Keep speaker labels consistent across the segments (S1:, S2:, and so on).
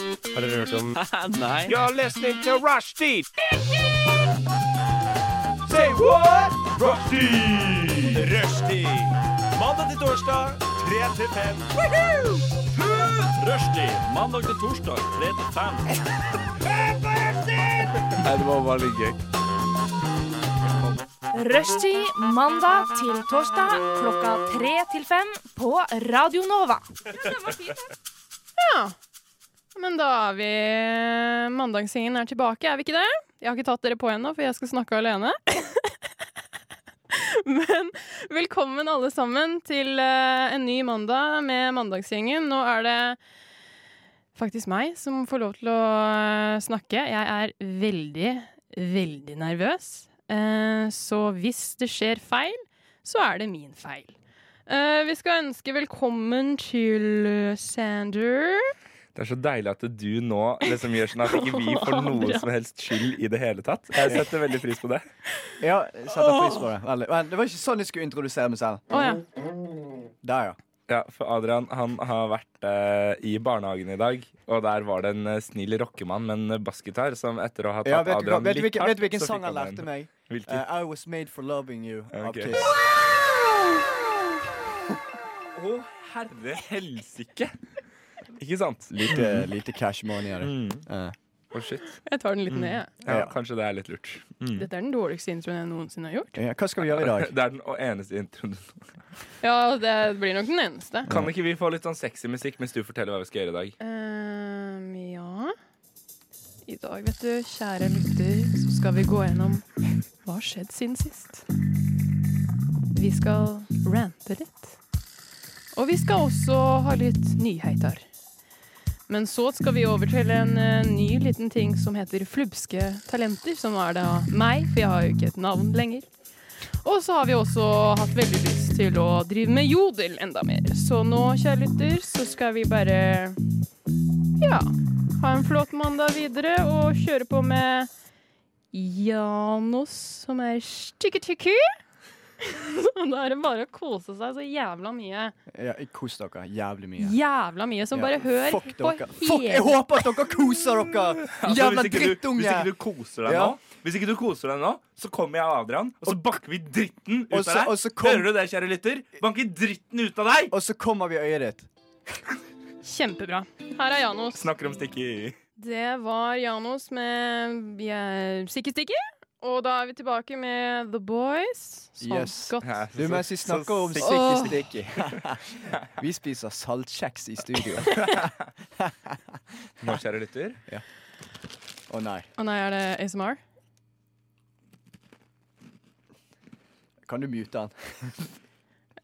S1: hørt om
S2: Nei.
S3: You're listening to Rushdie. Say what? Rushdie. Rushdie. Mandag til torsdag, 3 til 5.
S2: Rushdie mandag til torsdag 3 til 5.
S1: Nei, det var bare litt gøy.
S4: Rushtid mandag til torsdag klokka tre til fem på Radio Nova.
S5: Ja. Men da er vi Mandagssingen er tilbake, er vi ikke det? Jeg har ikke tatt dere på ennå, for jeg skal snakke alene. Men velkommen alle sammen til eh, en ny mandag med Mandagssingen. Nå er det faktisk meg som får lov til å eh, snakke. Jeg er veldig, veldig nervøs. Eh, Så hvis det skjer feil, så er det min feil. Eh, Vi skal ønske velkommen til eh, Sander.
S1: Det er så deilig at du nå liksom gjør sånn at ikke vi får noe
S5: Adrian.
S1: som helst skyld i det hele tatt. Jeg setter veldig pris på det.
S6: Ja, setter pris på det. Veldig. Men det var ikke sånn jeg skulle introdusere meg selv.
S5: Å ja.
S6: Der, ja.
S1: Ja, For Adrian han har vært eh, i barnehagen i dag, og der var det en eh, snill rockemann med en bassgitar som etter å ha tatt
S6: ja vet, du, hva-
S1: Adrian
S6: vet, du
S1: litt
S6: hvilken, vet du hvilken
S1: så
S6: sang
S1: fikk
S6: han
S1: han
S6: lærte
S1: en-
S6: meg?
S1: Hvilken?
S6: Eh, I was made for loving you. av
S1: Ok.
S6: Kiss.
S1: Å, herre helsike! Ikke sant?
S6: Lite, lite cash money av det.
S1: Mm.
S6: Eh,
S1: Å, shit.
S5: Jeg tar den litt ned. jeg.
S1: Ja,
S6: Ja.
S1: kanskje det er litt lurt. Mm.
S5: Dette er den dårligste introen jeg noensinne har gjort.
S6: ja, hva skal vi gjøre i dag?
S1: Det er den eneste introen.
S5: Ja, det blir nok den eneste.
S1: Kan ikke vi få litt sånn sexy musikk mens du forteller hva vi skal gjøre i dag?
S5: Ehm, ja I dag, vet du, kjære lytter, så skal vi gå gjennom hva har skjedd siden sist. Vi skal rante litt. Og vi skal også ha litt nyheter. Men så skal vi over til en eh, ny liten ting som heter Flubske talenter, som er da meg, for jeg har jo ikke et navn lenger. Og så har vi også hatt veldig lyst til å drive med jodel enda mer. Så nå, kjære lytter, så skal vi bare ja. Ha en flott mandag videre og kjøre på med Janos, som er stykke-tykku. da er det bare å kose seg så jævla mye.
S6: Ja, Kos dere jævlig mye.
S5: Jævla mye. Som
S6: Ja.
S5: bare hør
S6: Fuck
S5: på
S6: dere. Fuck, jeg
S5: hele
S6: håper at dere koser dere!
S1: Altså, hvis
S6: Jævla
S1: ikke du- Hvis
S6: drittunge!
S1: ikke du koser deg
S6: Ja.
S1: nå, Hvis ikke du koser deg nå, så kommer jeg og Adrian, og så banker vi dritten ut
S6: og så-
S1: av
S6: og
S1: deg.
S6: så kom-
S1: Hører du det, kjære lytter? Banker dritten ut av deg!
S6: Og så kommer vi i øyet ditt.
S5: Kjempebra. Her er Janos.
S1: Snakker om stikki.
S5: Det var Janos med jeg- Sikkestikke. Og da er vi tilbake med The Boys.
S6: Yes.
S5: Saltskott.
S6: Du, mens vi snakker om
S1: Så-
S5: Åh.
S6: sikki-stikki Vi spiser saltkjeks i studio.
S1: Nå, kjære lytter.
S6: Å nei.
S5: Å nei, er det ASMR?
S6: Kan du mute den?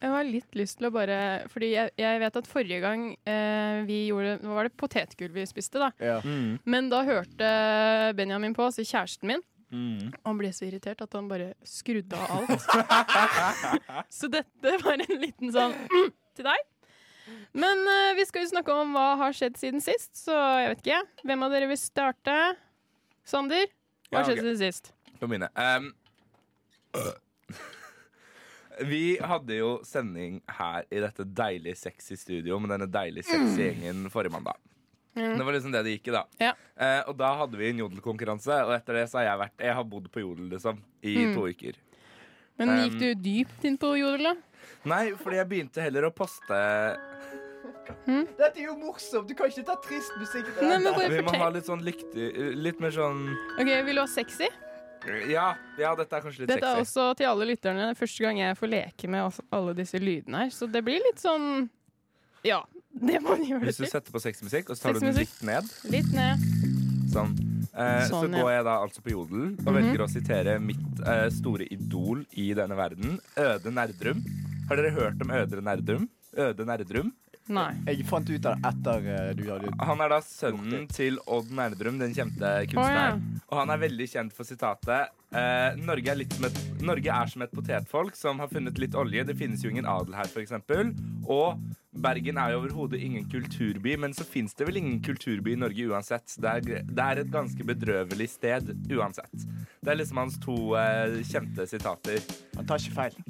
S5: Jeg har litt lyst til å bare Fordi jeg, jeg vet at forrige gang eh, vi gjorde Hva var det? Potetgull vi spiste, da.
S6: Ja.
S1: Mm.
S5: Men da hørte Benjamin på, altså kjæresten min,
S1: Mm.
S5: og han ble så irritert at han bare skrudde av alt. så dette var en liten sånn til deg. Men eh, vi skal jo snakke om hva har skjedd siden sist, så jeg vet ikke. Hvem av dere vil starte? Sander,
S1: Ja,
S5: hva har
S1: ok.
S5: skjedd siden sist?
S1: Få begynne. Ehm, vi hadde jo sending her i dette deilig sexy studio med denne deilig sexy
S6: Mm.
S1: gjengen forrige mandag. Det var liksom det det gikk i, da.
S5: Ja.
S1: Eh, og da hadde vi en jodelkonkurranse, og etter det så har jeg vært Jeg har bodd på jodel, liksom, i to uker.
S5: Men
S1: Um,
S5: gikk du dypt inn på jodel, da?
S1: Nei, fordi jeg begynte heller å poste
S6: Dette er jo morsomt! Du kan ikke ta trist musikk. til
S5: Nei,
S6: dette.
S5: men bare
S1: Vi må ha
S5: fortell.
S1: litt sånn lyktig Litt mer sånn
S5: Ok, Vil du ha sexy?
S1: Ja, ja dette er kanskje litt
S5: Dette er
S1: sexy.
S5: også til alle lytterne den første gang jeg får leke med også- alle disse lydene her, så det blir litt sånn Ja, det må du gjøre
S1: Hvis du
S5: til.
S1: setter på sexmusikk, og så tar du den
S5: Sexmusikk.
S1: litt ned,
S5: Litt ned.
S1: sånn, eh, så
S5: Sånn, ja. Mhm.
S1: går jeg da altså på jodel og velger å sitere mitt eh, store idol i denne verden, Øde Nerdrum. Har dere hørt om Øde Nerdrum? Øde Nerdrum?
S5: Nei.
S6: Jeg fant ut av det etter eh, du hadde
S1: Han er da sønnen til Odd Nerdrum, den kjente kunstneren. Og han er veldig kjent for sitatet eh, Norge, er litt som et, 'Norge er som et potetfolk som har funnet litt olje'. Det finnes jo ingen adel her, f.eks. Og Bergen er jo overhodet ingen kulturby, men så fins det vel ingen kulturby i Norge uansett. Det er, det er et ganske bedrøvelig sted uansett. Det er liksom hans to eh, kjente sitater.
S6: Han tar ikke feil.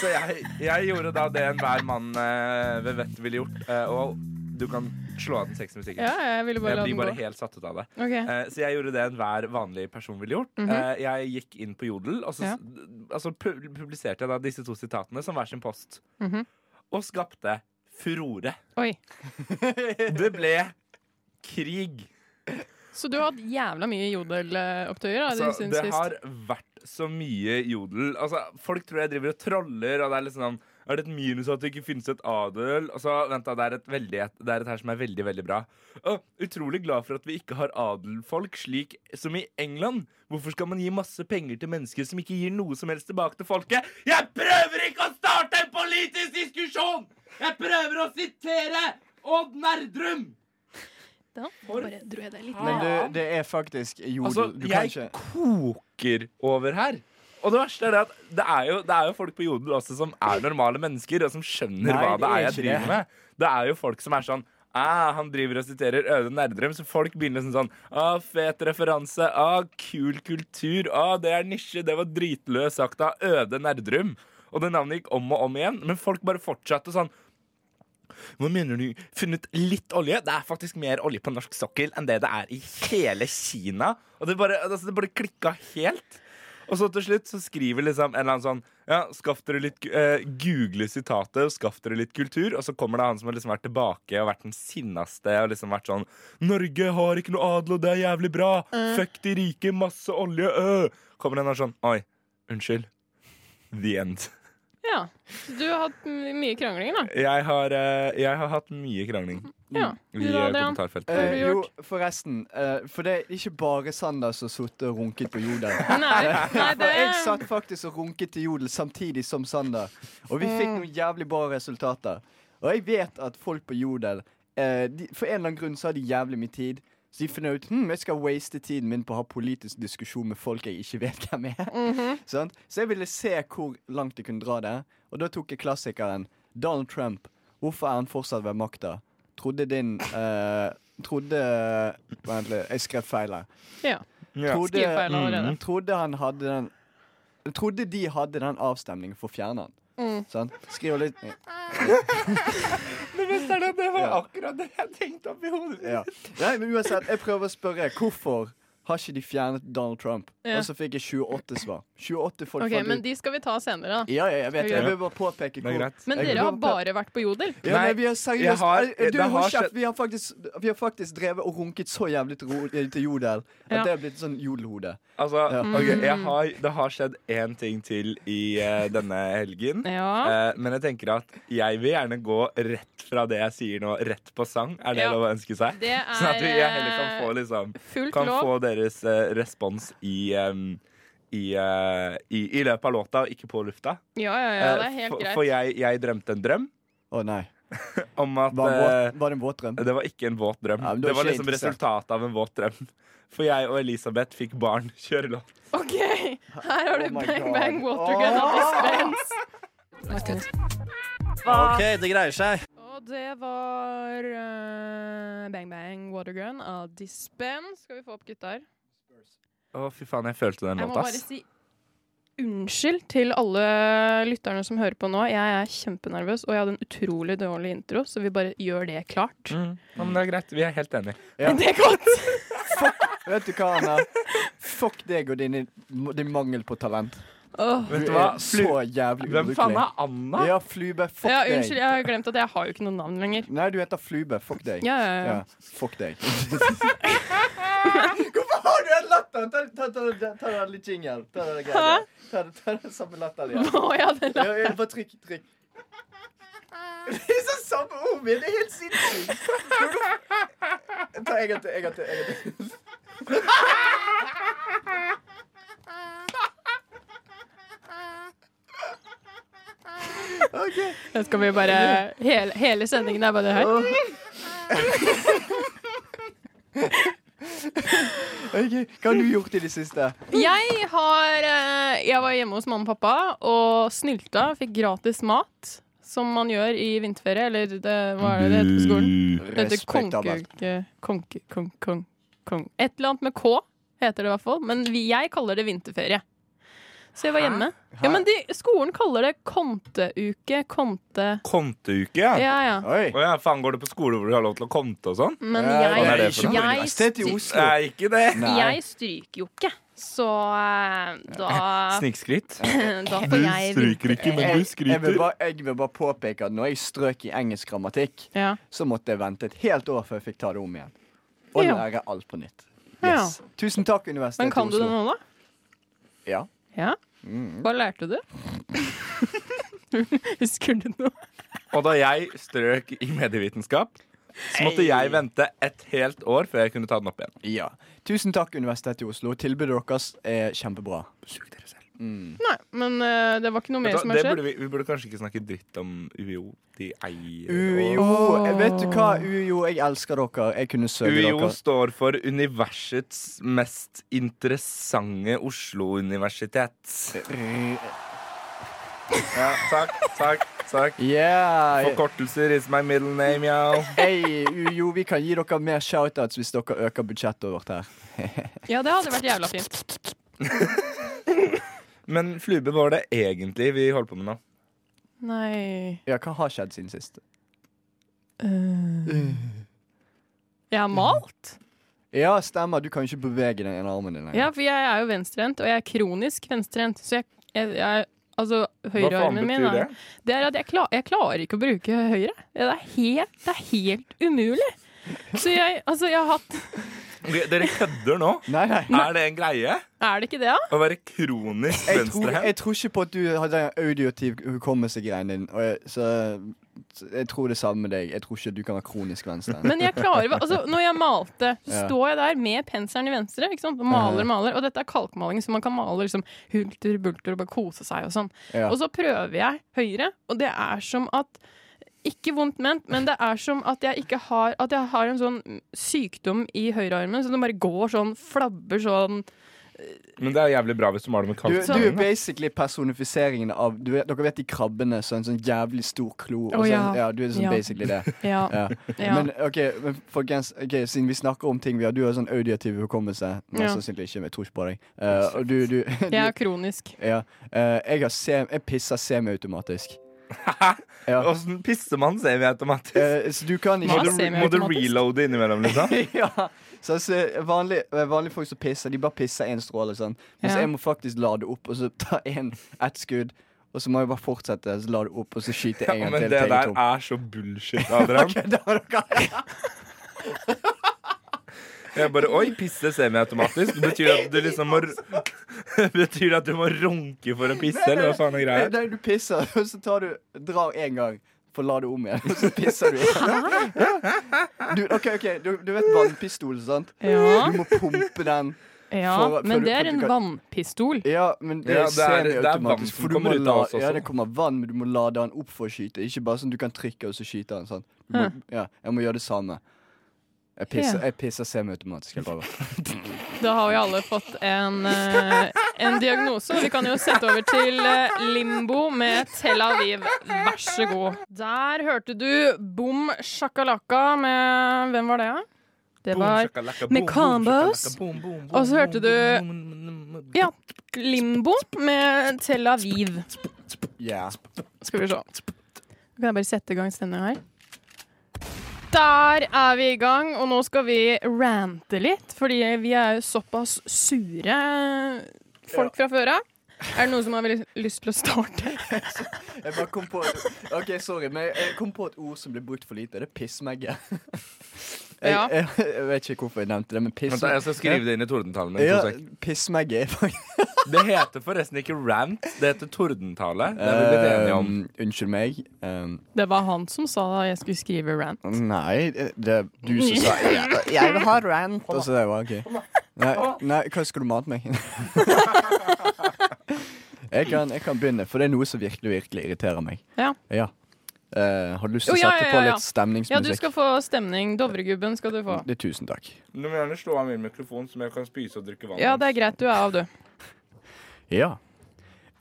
S1: Så jeg, jeg gjorde da det enhver mann eh, ved vettet ville gjort, eh, og Du kan slå av den sexy musikken.
S5: Ja, jeg ville bare
S1: Jeg
S5: la
S1: blir
S5: den
S1: bare
S5: gå.
S1: helt satt ut av det.
S5: Ok.
S1: Eh, Så jeg gjorde det enhver vanlig person ville gjort.
S5: Mhm.
S1: Eh, Jeg gikk inn på Jodel, og så
S5: Ja.
S1: altså, pu- publiserte jeg da disse to sitatene som hver sin post.
S5: Mhm.
S1: Og skapte furore.
S5: Oi.
S1: Det ble krig.
S5: Så du har hatt jævla mye jodelopptøyer
S1: Så
S5: da, altså, siden
S1: det
S5: sist?
S1: har vært så mye jodel. Altså, folk tror jeg driver og troller, og det er litt sånn Er det et minus at det ikke finnes et adel? Og så, vent da, det er et, veldig, det er et her som er veldig, veldig bra. Å, utrolig glad for at vi ikke har adelfolk, slik som i England. Hvorfor skal man gi masse penger til mennesker som ikke gir noe som helst tilbake til folket? Jeg prøver ikke å starte en politisk diskusjon! Jeg prøver å sitere Odd Nerdrum!
S5: Da bare dro jeg det litt
S6: Men du,
S5: ned.
S6: det er faktisk jodel.
S1: Altså,
S6: du kan
S1: jeg
S6: ikke
S1: koker over her. Og det verste er det at det er jo, det er jo folk på jodel også som er normale mennesker, og som skjønner
S6: Nei,
S1: hva
S6: det
S1: det er
S6: er
S1: jeg
S6: ikke
S1: driver
S6: det.
S1: med. Det er jo folk som er sånn Ah, han driver og siterer Øde Nerdrum, så folk begynner sånn sånn ah, Fet referanse. Ah, kul kultur. Ah, det er nisje. Det var dritløst sagt av Øde Nerdrum. Og det navnet gikk om og om igjen, men folk bare fortsatte sånn. Hva mener du? Funnet litt olje? Det er faktisk mer olje på norsk sokkel enn det det er i hele Kina. Og det bare, altså det bare klikka helt. Og så til slutt så skriver liksom en eller annen sånn Ja, skaff dere litt eh, Google sitatet og skaff dere litt kultur. Og så kommer det han som har liksom vært tilbake og vært den sinneste og liksom vært sånn Norge har ikke noe adel, og det er jævlig bra. Fuck de rike, masse olje, øh. Kommer en og er sånn Oi, unnskyld. The end.
S5: Ja. Så du har hatt my- mye kranglinger, da.
S1: Jeg har, eh, jeg har hatt mye krangling
S5: Ja.
S1: i
S5: Du
S1: eh,
S5: da, Adrian?
S1: kommentarfeltet.
S5: har du
S6: Eh, Jo,
S5: gjort?
S6: forresten. eh, for det er ikke bare Sander som har sittet og runket på jodel.
S5: Nei, nei
S6: For
S5: det
S6: jeg satt faktisk og runket til jodel samtidig som Sander. Og vi fikk noen jævlig bra resultater. Og jeg vet at folk på jodel eh, de, For en eller annen grunn så har de jævlig mye tid. Så de finner ut hm, jeg skal waste tiden min på å ha politisk diskusjon med folk jeg ikke vet hvem er. Sant? Så jeg ville se hvor langt jeg kunne dra det. Og da tok jeg klassikeren Donald Trump. Hvorfor er han fortsatt ved makta? Trodde din eh, Trodde Vent litt, jeg skrev feil her.
S5: Ja.
S1: Ja.
S6: Trodde, Mm.
S5: Skriv feil allerede.
S6: trodde han hadde den Trodde de hadde den avstemningen for å fjerne han.
S5: Mm.
S6: Sant? Skriver litt
S1: Det var
S6: Ja.
S1: akkurat det jeg tenkte oppi hodet.
S6: ja. Nei, men uansett, jeg prøver å spørre hvorfor har ikke de fjernet Donald Trump?
S5: Ja.
S6: Og så fikk jeg 28 svar. 28 folk
S5: OK,
S6: fant
S5: men
S6: ut.
S5: de skal vi ta senere, da.
S6: Ja, ja, jeg vet
S5: Ja.
S6: Jeg vil bare påpeke
S1: Det er
S6: hvor
S1: greit.
S5: Men
S6: Jeg
S5: dere har
S6: vil bare-
S5: bare vært på jodel?
S6: Ja,
S1: Nei,
S6: men vi har
S1: jeg
S6: seriøst
S1: har-
S6: Eh, Du,
S1: det har
S6: hold kjeft!
S1: skjedd-
S6: Vi har faktisk, vi har faktisk drevet og runket så jævlig til, ro- eh, til jodel at
S5: Ja.
S6: det er blitt sånn jodelhode.
S1: Altså,
S6: Ja.
S1: ok, jeg har, det har skjedd én ting til i eh, denne helgen.
S5: Ja.
S1: Eh, men jeg tenker at jeg vil gjerne gå rett fra det jeg sier nå, rett på sang. Er det
S5: Ja.
S1: lov å ønske seg?
S5: Det
S1: Sånn at
S5: er
S1: vi jeg heller kan få,
S5: eh,
S1: liksom,
S5: fullt
S1: kan
S5: lov.
S1: få deres eh, respons i, em, i, eh, i, i løpet av låta, og ikke på lufta.
S5: Ja, ja, ja, det er
S1: Eh,
S5: helt
S1: for for
S5: greit.
S1: jeg, jeg drømte en drøm
S6: Å nei.
S1: om at
S6: Var det en
S1: eh,
S6: våt- var det en våt drøm?
S1: Det var ikke en våt drøm.
S6: Ja, men du
S1: det
S6: var
S1: var
S6: ikke
S1: liksom
S6: interessert.
S1: resultatet av en våt drøm. For jeg og Elisabeth fikk barn. Kjør låt.
S5: OK, her har
S6: Oh
S5: du
S6: my
S5: Bang
S6: God.
S5: Bang Watergun og Dispense.
S4: Hva?
S3: det greier seg.
S5: Og det var eh, Bang Bang Watergun av Dispense. Skal vi få opp gutta her?
S1: Å, fy faen, jeg følte den
S5: Jeg må
S1: låta,
S5: bare
S1: ass.
S5: si unnskyld til alle lytterne som hører på nå. Jeg er kjempenervøs, og jeg hadde en utrolig dårlig intro, så vi bare gjør det klart.
S1: Mm. Ja, men det er greit. Vi er helt enige.
S6: Ja.
S5: Det er godt!
S6: Vet du hva, Anna? Fuck deg og din, din mangel på talent.
S5: Åh.
S1: Vet du
S6: er
S1: hva?
S6: Så
S1: Flu
S6: jævlig
S1: Hvem faen
S6: ubrukelig.
S1: er Anna?
S6: Ja, Flube. Fuck
S5: Ja,
S6: deg.
S5: unnskyld, jeg har glemt at jeg har jo ikke noe navn lenger.
S6: Nei, du heter Flube. Fuck deg.
S5: Ja, ja, ja.
S6: Ja, fuck deg. Hvorfor har du den latteren? Ta, ta, ta, ta, ta den litt jingle. Ta den greia. Ta, den- ta den samme latteren igjen.
S5: Å, ja, det la-
S6: Ja, ja, bare trykk, trykk. Det er så samme ord, men det er helt sinnssykt. Ta en gang til, en gang til. En gang til.
S5: Nå skal vi bare Hele, hele sendingen er bare det her.
S6: Ok, Hva har du gjort i det siste?
S5: Jeg har eh, Jeg var hjemme hos mamma og pappa og snylta. Fikk gratis mat, som man gjør i vinterferie. Eller det, hva er det det heter på skolen?
S1: Mm.
S5: Det heter
S6: Respektabelt.
S5: konkeuke Konke... Konk... Konk... Konk... Et eller annet med K heter det i hvert fall. Men vi, jeg kaller det vinterferie. Så jeg var hjemme. Ja, men de, skolen kaller det konteuke. Konte...
S1: Konteuke, ja.
S5: Ja, ja.
S6: Oi.
S1: Å ja, faen, går du på skole hvor du har lov til å konte og sånn?
S5: Men
S6: Ja,
S5: jeg,
S1: hva er
S5: jeg,
S1: det for noe?
S6: Universitetet i
S5: stry-
S6: Oslo.
S1: Nei, ikke det.
S6: Nei.
S5: jeg stryker jo ikke. Så eh, da,
S1: Snikskryt.
S5: da får jeg
S1: ikke,
S6: Jeg vil, bare, jeg vil bare påpeke at når jeg strøk i engelsk grammatikk,
S5: Ja.
S6: så måtte jeg vente et helt år før jeg fikk ta det om igjen. Og
S5: Ja.
S6: lære alt på nytt.
S5: Ja.
S6: Yes. Tusen takk, Universitetet
S5: Men kan
S6: i
S5: du det
S6: Oslo.
S5: nå, da?
S6: Ja.
S5: Ja?
S1: Mm.
S5: Hva lærte du? Husker du noe?
S1: Og da jeg strøk i medievitenskap, så måtte jeg vente et helt år før jeg kunne ta den opp igjen.
S6: ja. Tusen takk, Universitetet i Oslo. Tilbudet deres er kjempebra.
S1: Sug dere selv.
S5: Nei, men eh, det var ikke noe
S1: Vet du
S5: mer
S1: hva,
S5: som
S1: det
S5: har skjedd.
S1: burde vi, vi burde kanskje ikke snakke dritt om UiO. De eier og-
S6: UiO. eh, Vet du hva, UiO, jeg elsker dere. Jeg kunne søke
S1: UiO
S6: dere.
S1: står for universets mest interessante Oslo-universitet. Ja, takk, takk, takk.
S6: Yeah.
S1: Forkortelser is my middle name, yo.
S6: Hey, UiO, vi kan gi dere mer shoutouts hvis dere øker budsjettet vårt her.
S5: Ja, det hadde vært jævla fint.
S1: Men Flube, hva var det egentlig vi holdt på med nå?
S5: Nei
S6: Ja, hva har skjedd siden sist?
S1: Øh.
S5: Jeg har malt.
S6: Ja, stemmer. Du kan jo ikke bevege den ene armen din lenger.
S5: Ja, for jeg er jo venstrehendt, og jeg er kronisk venstrehendt. Så jeg, jeg, jeg Altså,
S1: Hva faen
S5: høyrearmen min
S1: betyr
S5: er-
S1: det?
S5: Det er at jeg, klar, jeg klarer ikke å bruke høyre. Det er helt, det er helt umulig. Så jeg, altså, jeg har hatt
S1: Ok, Dere kødder nå?
S6: Nei, nei.
S1: Er det en greie?
S5: Er det ikke det, da?
S1: Å være kronisk
S6: Jeg tror, jeg
S1: venstrehendt?
S6: tror ikke på at du har den auditiv hukommelse-greien din. Og jeg, så, så jeg tror det samme med deg. Jeg tror ikke du kan være kronisk venstre.
S5: Men jeg klarer altså, Når jeg malte, så
S6: Ja.
S5: står jeg der med penselen i venstre ikke sant? og maler og maler. Og dette er kalkmaling, så man kan male liksom, hulter bulter og bare kose seg og sånn.
S6: Ja.
S5: Og så prøver jeg høyre, og det er som at ikke vondt ment, men det er som at jeg ikke har At jeg har en sånn sykdom i høyrearmen, så den bare går sånn, flabber sånn
S1: Men det er jævlig bra hvis du maler med
S6: Du,
S1: kaldt.
S6: du er basically personifiseringen av du vet, Dere vet de krabbene som en sånn jævlig stor klo? Og
S5: Å,
S6: sånn,
S5: ja.
S6: ja, du er sånn
S5: Ja.
S6: basically det.
S5: Ja.
S6: Ja.
S5: Ja.
S6: Men ok, men folkens, ok, siden vi snakker om ting vi har Du har sånn auditiv hukommelse. Mest
S5: Ja.
S6: sannsynlig ikke, men jeg tror ikke på deg. Eh, og du, du, du
S5: Jeg er kronisk.
S6: ja. Eh, jeg, har sem, jeg pisser semiautomatisk. Ja.
S1: Åssen pisser man semiautomatisk?
S6: Eh, så du kan ikke
S1: Må
S5: Hva?
S1: du, må du
S5: Semiautomatisk?
S1: reloade innimellom, liksom?
S6: ja. så, altså, vanlig, vanlige folk som pisser, de bare pisser én stråle. Sånn. Mens
S5: Ja.
S6: jeg må faktisk lade opp, og så ta en, ett skudd. Og så må jeg bare fortsette, så lade opp, og så skyte
S1: Ja,
S6: en gang
S1: men
S6: til.
S1: det
S6: til jeg
S1: der
S6: er tom.
S1: er så bullshit, Adrian.
S6: Ok, da var dere-
S1: Jeg bare Oi, pisse semiautomatisk? Betyr det at du liksom må Betyr det at du må runke for å pisse, eller hva faen er greia?
S6: Nei, du pisser, og så tar du, drar en gang. For la det om igjen, og så pisser du igjen. Du, ok, ok, du, du vet vannpistol, sant?
S5: Ja.
S6: Du må pumpe den.
S5: Ja,
S6: For- for
S5: men
S6: du-
S5: det
S6: for
S5: er
S6: du
S5: en
S6: kan-
S5: vannpistol.
S6: Ja, men det
S1: Ja,
S6: er
S1: det er- det er vann
S6: semiautomatisk.
S1: som
S6: for du
S1: kommer ut
S6: må
S1: av
S6: la-
S1: oss også.
S6: Ja, det kommer vann, men du må lade den opp for å skyte. Ikke bare sånn du kan trykke og så skyte den sånn. Du må, ja, jeg må gjøre det samme. Jeg pisser,
S5: Ja.
S6: jeg pisser semiautomatisk. Jeg bare.
S5: Da har jo alle fått en, eh, en diagnose, og vi kan jo sette over til eh, limbo med Tel Aviv. Vær så god. Der hørte du Bom Shakalaka med Hvem var det, da? Det var med Combos. Og så hørte
S1: du
S5: Ja, Limbo med Tel Aviv.
S6: Yeah.
S5: Skal vi se. Kan jeg bare sette i gang sendinga her? Der er vi i gang, og nå skal vi rante litt, fordi vi er jo såpass sure folk fra før av. Er det noen som har vel- lyst til å starte?
S6: Jeg bare kom på Ok, sorry, men jeg- jeg kom på et ord som blir brukt for lite. Det er pissmegge. Jeg,
S5: Ja.
S6: jeg, jeg vet ikke hvorfor jeg nevnte det, men
S1: Vent, da, jeg
S6: pissmegge
S1: skal skrive det inn i tordentalen min.
S6: ja,
S1: to sek.
S6: Pissmegge er faktisk
S1: Det heter forresten ikke rant, det heter tordentale. Det er vi blitt
S5: Eh.
S1: enige om.
S6: Um, Unnskyld meg. Um,
S5: Det var han som sa jeg skulle skrive rant.
S6: Nei, det det er du som sa Jeg, jeg vil ha rant. Og så det var OK. Nei, nei, hva skal du mate meg? jeg, kan, jeg kan begynne, for det er noe som virkelig virkelig irriterer meg.
S5: Ja.
S6: Eh, har du lyst til
S5: Å,
S6: å
S5: ja,
S6: sette
S5: ja,
S6: på
S5: ja, ja.
S6: litt stemningsmusikk?
S5: Ja, du skal få stemning. Dovregubben skal du få.
S6: Det er tusen takk.
S1: Du må gjerne slå av min mikrofon, som jeg kan spyse og drikke vann
S5: Ja, det er greit. Du er av, du.
S6: Ja.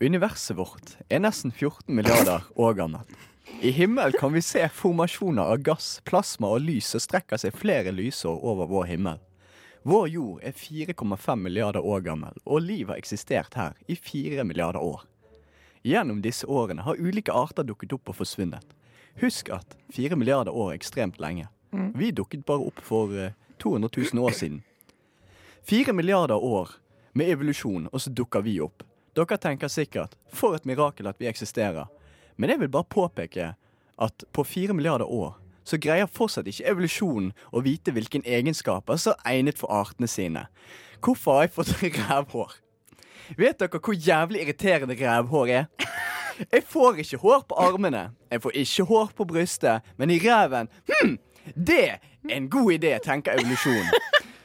S6: Universet vårt er nesten 14 milliarder år gammelt. I himmel kan vi se formasjoner av gass, plasma og lys som strekker seg flere lysår over vår himmel. Vår jord er 4,5 milliarder år gammel, og liv har eksistert her i 4 milliarder år. Gjennom disse årene har ulike arter dukket opp og forsvunnet. Husk at 4 milliarder år er ekstremt lenge. Vi dukket bare opp for eh, 200 000 år siden. 4 milliarder år med evolusjon, og så dukker vi opp. Dere tenker sikkert 'for et mirakel at vi eksisterer', men jeg vil bare påpeke at på 4 milliarder år så greier fortsatt ikke evolusjonen å vite hvilken egenskaper som er egnet for artene sine. Hvorfor har jeg fått rævhår? Vet dere hvor jævlig irriterende rævhår er? Jeg får ikke hår på armene, jeg får ikke hår på brystet, men i ræven Hm, det er en god idé, tenker evolusjonen.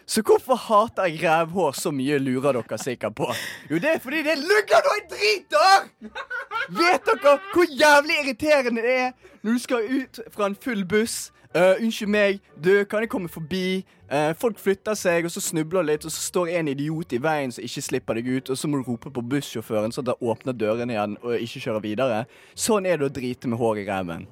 S6: Så hvorfor hater jeg rævhår så mye, lurer dere sikkert på. Jo, det er fordi det lugger når jeg driter! Vet dere hvor jævlig irriterende det er når du skal ut fra en full buss? Eh, unnskyld meg, du, kan jeg komme forbi? Eh, folk flytter seg, og så snubler litt, og så står en idiot i veien som ikke slipper deg ut, og så må du rope på bussjåføren, så da åpner dørene igjen og ikke kjører videre. Sånn er det å drite med hår i ræven.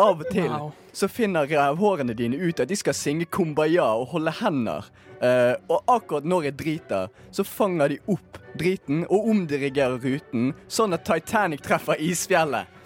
S6: Av og til
S5: Wow.
S6: så finner rævhårene dine ut at de skal synge kumbaya og holde hender. Eh, og akkurat når jeg driter, så fanger de opp driten og omdirigerer ruten, sånn at Titanic treffer isfjellet.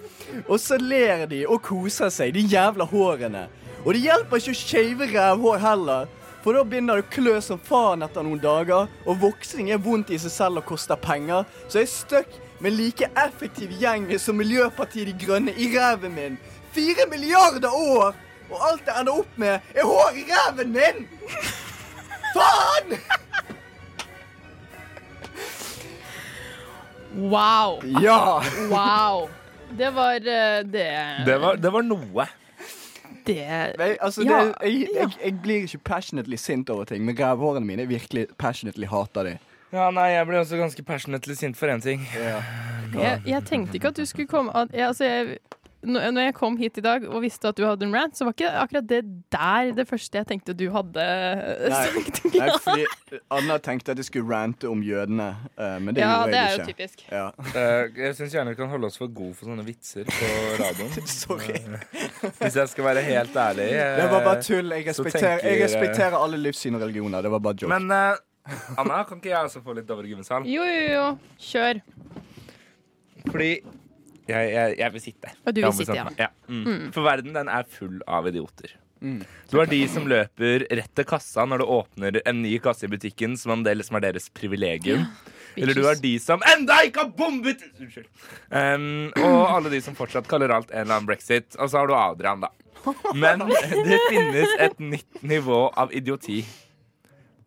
S6: Og så ler de og koser seg, de jævla hårene. Og det hjelper ikke å shave rævhår heller, for da begynner det å klø som faen etter noen dager, og voksing er vondt i seg selv og koster penger, så jeg er stuck med like effektiv gjeng som Miljøpartiet De Grønne i ræven min. Fire milliarder år, og alt det ender opp med, er hår i ræven min! Faen!
S5: Wow!
S6: Ja!
S5: Wow! Det var eh, det
S1: Det var, det var noe.
S5: det-
S6: Nei, altså,
S5: Ja,
S6: det, jeg,
S5: ja.
S6: jeg, jeg blir ikke passionately sint over ting, men rævhårene mine er virkelig passionately hater de.
S1: Ja, nei, jeg ble også ganske passionately sint for én ting.
S5: jeg, jeg tenkte ikke at du skulle komme at, jeg, altså, jeg, når når jeg kom hit i dag og visste at du hadde en rant, så var ikke akkurat det der det første jeg tenkte du hadde eh,
S6: Nei.
S5: sagt.
S6: Nei, fordi Anna tenkte at jeg skulle rante om jødene, eh, men det
S5: ja,
S6: gjorde
S5: det
S6: jeg
S5: er jo
S6: ikke.
S5: typisk.
S6: Ja.
S1: Eh, jeg syns gjerne vi kan holde oss for gode for sånne vitser på radioen. Eh,
S6: Sorry.
S1: Hvis jeg skal være helt ærlig. eh,
S6: Det var bare tull. Jeg
S1: Så
S6: respekterer, jeg
S1: tenker- eh,
S6: respekterer alle livssyn og religioner. Det var bare joke.
S1: Men eh, Anna, kan ikke jeg også få litt Dovre Gummesal?
S5: Jo, jo, jo. Kjør.
S1: Fordi jeg, jeg, jeg vil sitte.
S5: Og
S1: Jeg
S5: du vil
S1: har
S5: sitte, ja.
S1: bestemt meg. Mm. For verden den er full av idioter. Du har de som løper rett til kassa når du åpner en ny kasse i butikken, som om det liksom er deres privilegium. Eller du har de som enda ikke har bombet Unnskyld. Um, og alle de som fortsatt kaller alt en eller annen brexit. Og så har du Adrian, da. Men det finnes et nytt nivå av idioti.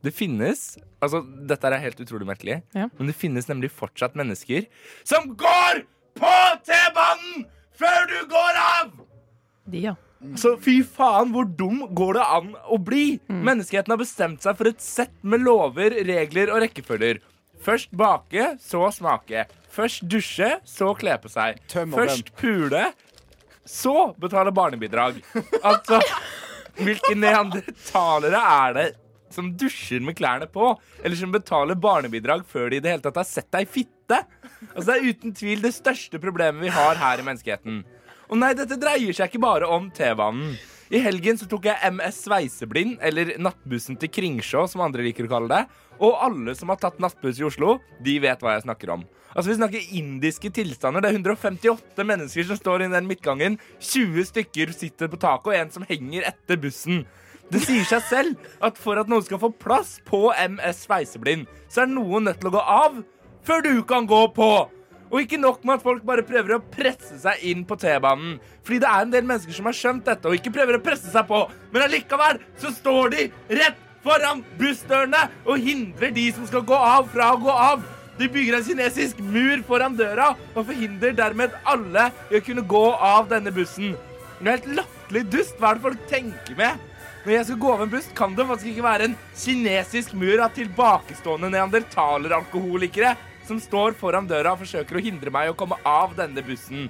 S1: Det finnes Altså, dette er helt utrolig merkelig,
S5: Ja.
S1: men det finnes nemlig fortsatt mennesker som går på T-banen før du går av!
S5: De, ja.
S1: Så fy faen, hvor dum går det an å bli? Menneskeheten har bestemt seg for et sett med lover, regler og rekkefølger. Først bake, så smake. Først dusje, så kle på seg.
S6: Tøm og
S1: Først pule, så betale barnebidrag. Altså, hvilke neandertalere er det som dusjer med klærne på? Eller som betaler barnebidrag før de i det hele tatt har sett deg fitte? Altså, det er uten tvil det største problemet vi har her i menneskeheten. Og nei, dette dreier seg ikke bare om T-banen. I helgen så tok jeg MS Sveiseblind, eller nattbussen til Kringsjå, som andre liker å kalle det. Og alle som har tatt nattbuss i Oslo, de vet hva jeg snakker om. Altså, Vi snakker indiske tilstander. Det er 158 mennesker som står i den midtgangen. 20 stykker sitter på taket, og en som henger etter bussen. Det sier seg selv at for at noen skal få plass på MS Sveiseblind, så er noen nødt til å gå av før du kan gå på. Og ikke nok med at folk bare prøver å presse seg inn på T-banen. Fordi det er en del mennesker som har skjønt dette og ikke prøver å presse seg på. Men allikevel så står de rett foran bussdørene og hindrer de som skal gå av, fra å gå av. De bygger en kinesisk mur foran døra og forhindrer dermed alle i å kunne gå av denne bussen. Det er helt latterlig dust. Hva er det folk tenker med? Når jeg skal gå over en buss, kan det faktisk ikke være en kinesisk mur av tilbakestående neandertaleralkoholikere som står foran døra og forsøker å hindre meg i å komme av denne bussen.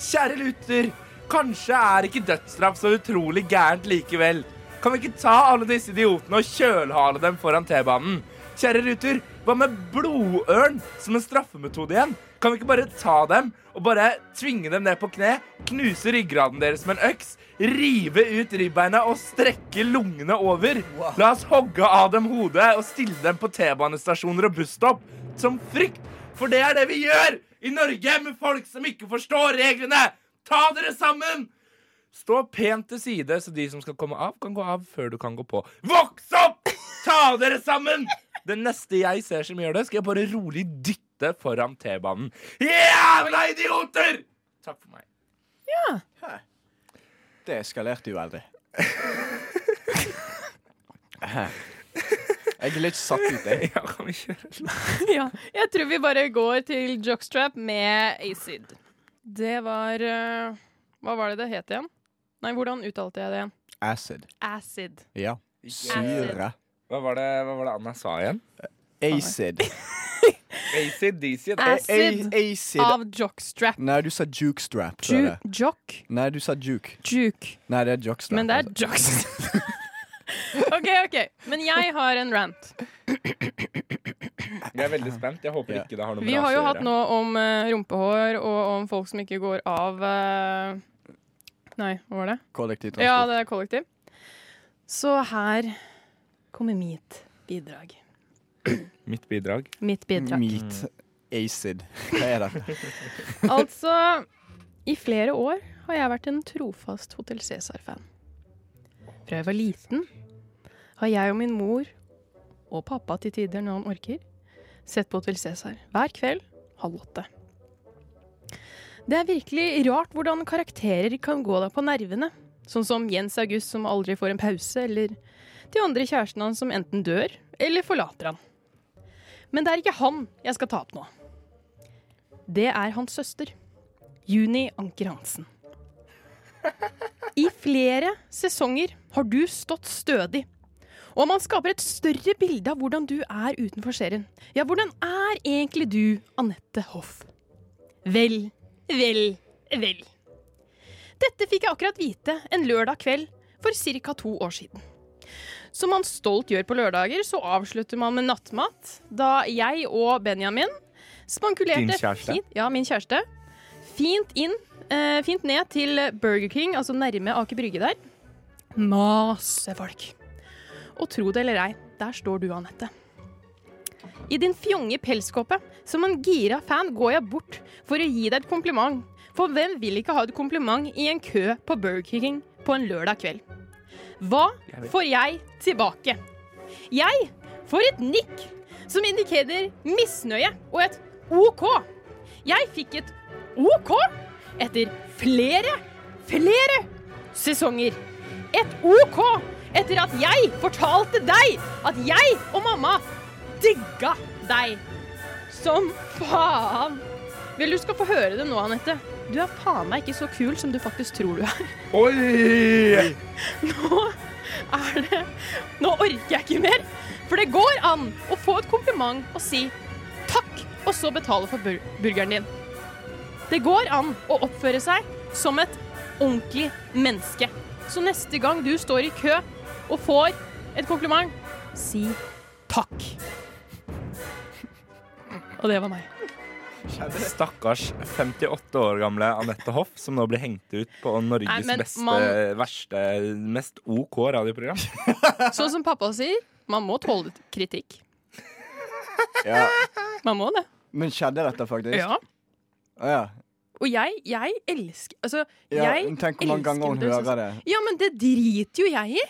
S1: Kjære Luther, kanskje er ikke dødsstraff så utrolig gærent likevel. Kan vi ikke ta alle disse idiotene og kjølhale dem foran T-banen? Kjære Ruter, hva med blodørn som en straffemetode igjen? Kan vi ikke bare ta dem og bare tvinge dem ned på kne, knuse ryggraden deres med en øks, rive ut ribbeina og strekke lungene over? La oss hogge av dem hodet og stille dem på T-banestasjoner og busstopp som frykt, for det er det vi gjør i Norge med folk som ikke forstår reglene! Ta dere sammen! Stå pent til side, så de som skal komme av, kan gå av før du kan gå på. Voks opp! Ta dere sammen! Den neste jeg ser som gjør det, skal jeg bare rolig dytte foran T-banen. Jævla idioter! Takk for meg.
S6: Det eskalerte jo aldri. Jeg er litt satt ut, jeg.
S1: Ja, kan vi kjøre?
S5: ja. Jeg tror vi bare går til Jockstrap med Acid. Det var eh, Hva var det det het igjen? Nei, hvordan uttalte jeg det igjen?
S6: Acid.
S5: Acid.
S6: Ja. Syre.
S1: Hva var det, hva var det Anna sa igjen?
S6: Acid.
S1: ACDC.
S5: Æ. Acid.
S6: A- Acid.
S5: Av Jockstrap.
S6: Nei, du sa jukestrap. tror
S5: Ju
S6: jeg.
S5: jock.
S6: Nei, du sa juke.
S5: Juke.
S6: Nei, det er jockstrap.
S5: Men det er
S6: altså.
S5: jocks. OK, OK. Men jeg har en rant.
S1: Jeg er veldig spent. Jeg håper
S6: Ja.
S1: ikke det har noe
S5: Vi
S1: med
S5: har
S1: rase
S5: jo
S1: å
S5: hatt
S1: gjøre.
S5: nå om eh, rumpehår og om folk som ikke går av eh, Nei, hva var det?
S6: Kollektivtransport.
S5: Ja, det er kollektiv. Så her kommer mitt bidrag.
S1: Mitt bidrag.
S5: Mitt bidrag.
S6: Meat. Acid. Hva er dette?
S5: Altså, i flere år har jeg vært en trofast Hotell Cæsar-fan. Fra jeg var liten, har jeg og min mor, og pappa til tider når han orker, sett på Hotell Cæsar hver kveld halv åtte. Det er virkelig rart hvordan karakterer kan gå deg på nervene. Sånn som Jens August som aldri får en pause, eller de andre kjærestene hans som enten dør eller forlater han. Men det er ikke han jeg skal ta opp nå. Det er hans søster, Juni Anker Hansen. I flere sesonger har du stått stødig. Og man skaper et større bilde av hvordan du er utenfor serien. Ja, hvordan er egentlig du, Anette Hoff? Vel, vel, vel. Dette fikk jeg akkurat vite en lørdag kveld for ca. to år siden. Som man stolt gjør på lørdager, så avslutter man med nattmat, da jeg og Benjamin spankulerte
S1: Din kjæreste?
S5: Fint, ja, min kjæreste. Fint inn, eh, fint ned til Burger King, altså nærme Aker Brygge der. Masse folk. Og tro det eller ei, der står du, Anette. I din fjonge pelskåpe, som en gira fan, går jeg bort for å gi deg et kompliment. For hvem vil ikke ha et kompliment i en kø på Burger King på en lørdag kveld? Hva får jeg tilbake? Jeg får et nikk som indikerer misnøye og et OK. Jeg fikk et OK etter flere, flere sesonger. Et OK etter at jeg fortalte deg at jeg og mamma digga deg. Som faen. Vel, du skal få høre det nå, Anette. Du er faen meg ikke så kul som du faktisk tror du er.
S1: Oi!
S5: Nå er det Nå orker jeg ikke mer. For det går an å få et kompliment og si takk, og så betale for bur burgeren din. Det går an å oppføre seg som et ordentlig menneske. Så neste gang du står i kø og får et kompliment, si takk. Og det var meg.
S1: Stakkars 58 år gamle Anette Hoff, som nå blir hengt ut på Norges
S5: Nei, men
S1: beste,
S5: man-
S1: verste, mest OK radioprogram.
S5: Sånn som pappa sier, man må tåle kritikk.
S6: Ja.
S5: Man må det.
S6: Men skjedde dette faktisk? Å, ja.
S5: Og jeg, jeg elsker Altså,
S6: ja.
S5: jeg
S6: men Tenk hvor mange
S5: elsker
S6: ganger hun
S5: det, så-
S6: hører det.
S5: Ja, men det driter jo jeg i.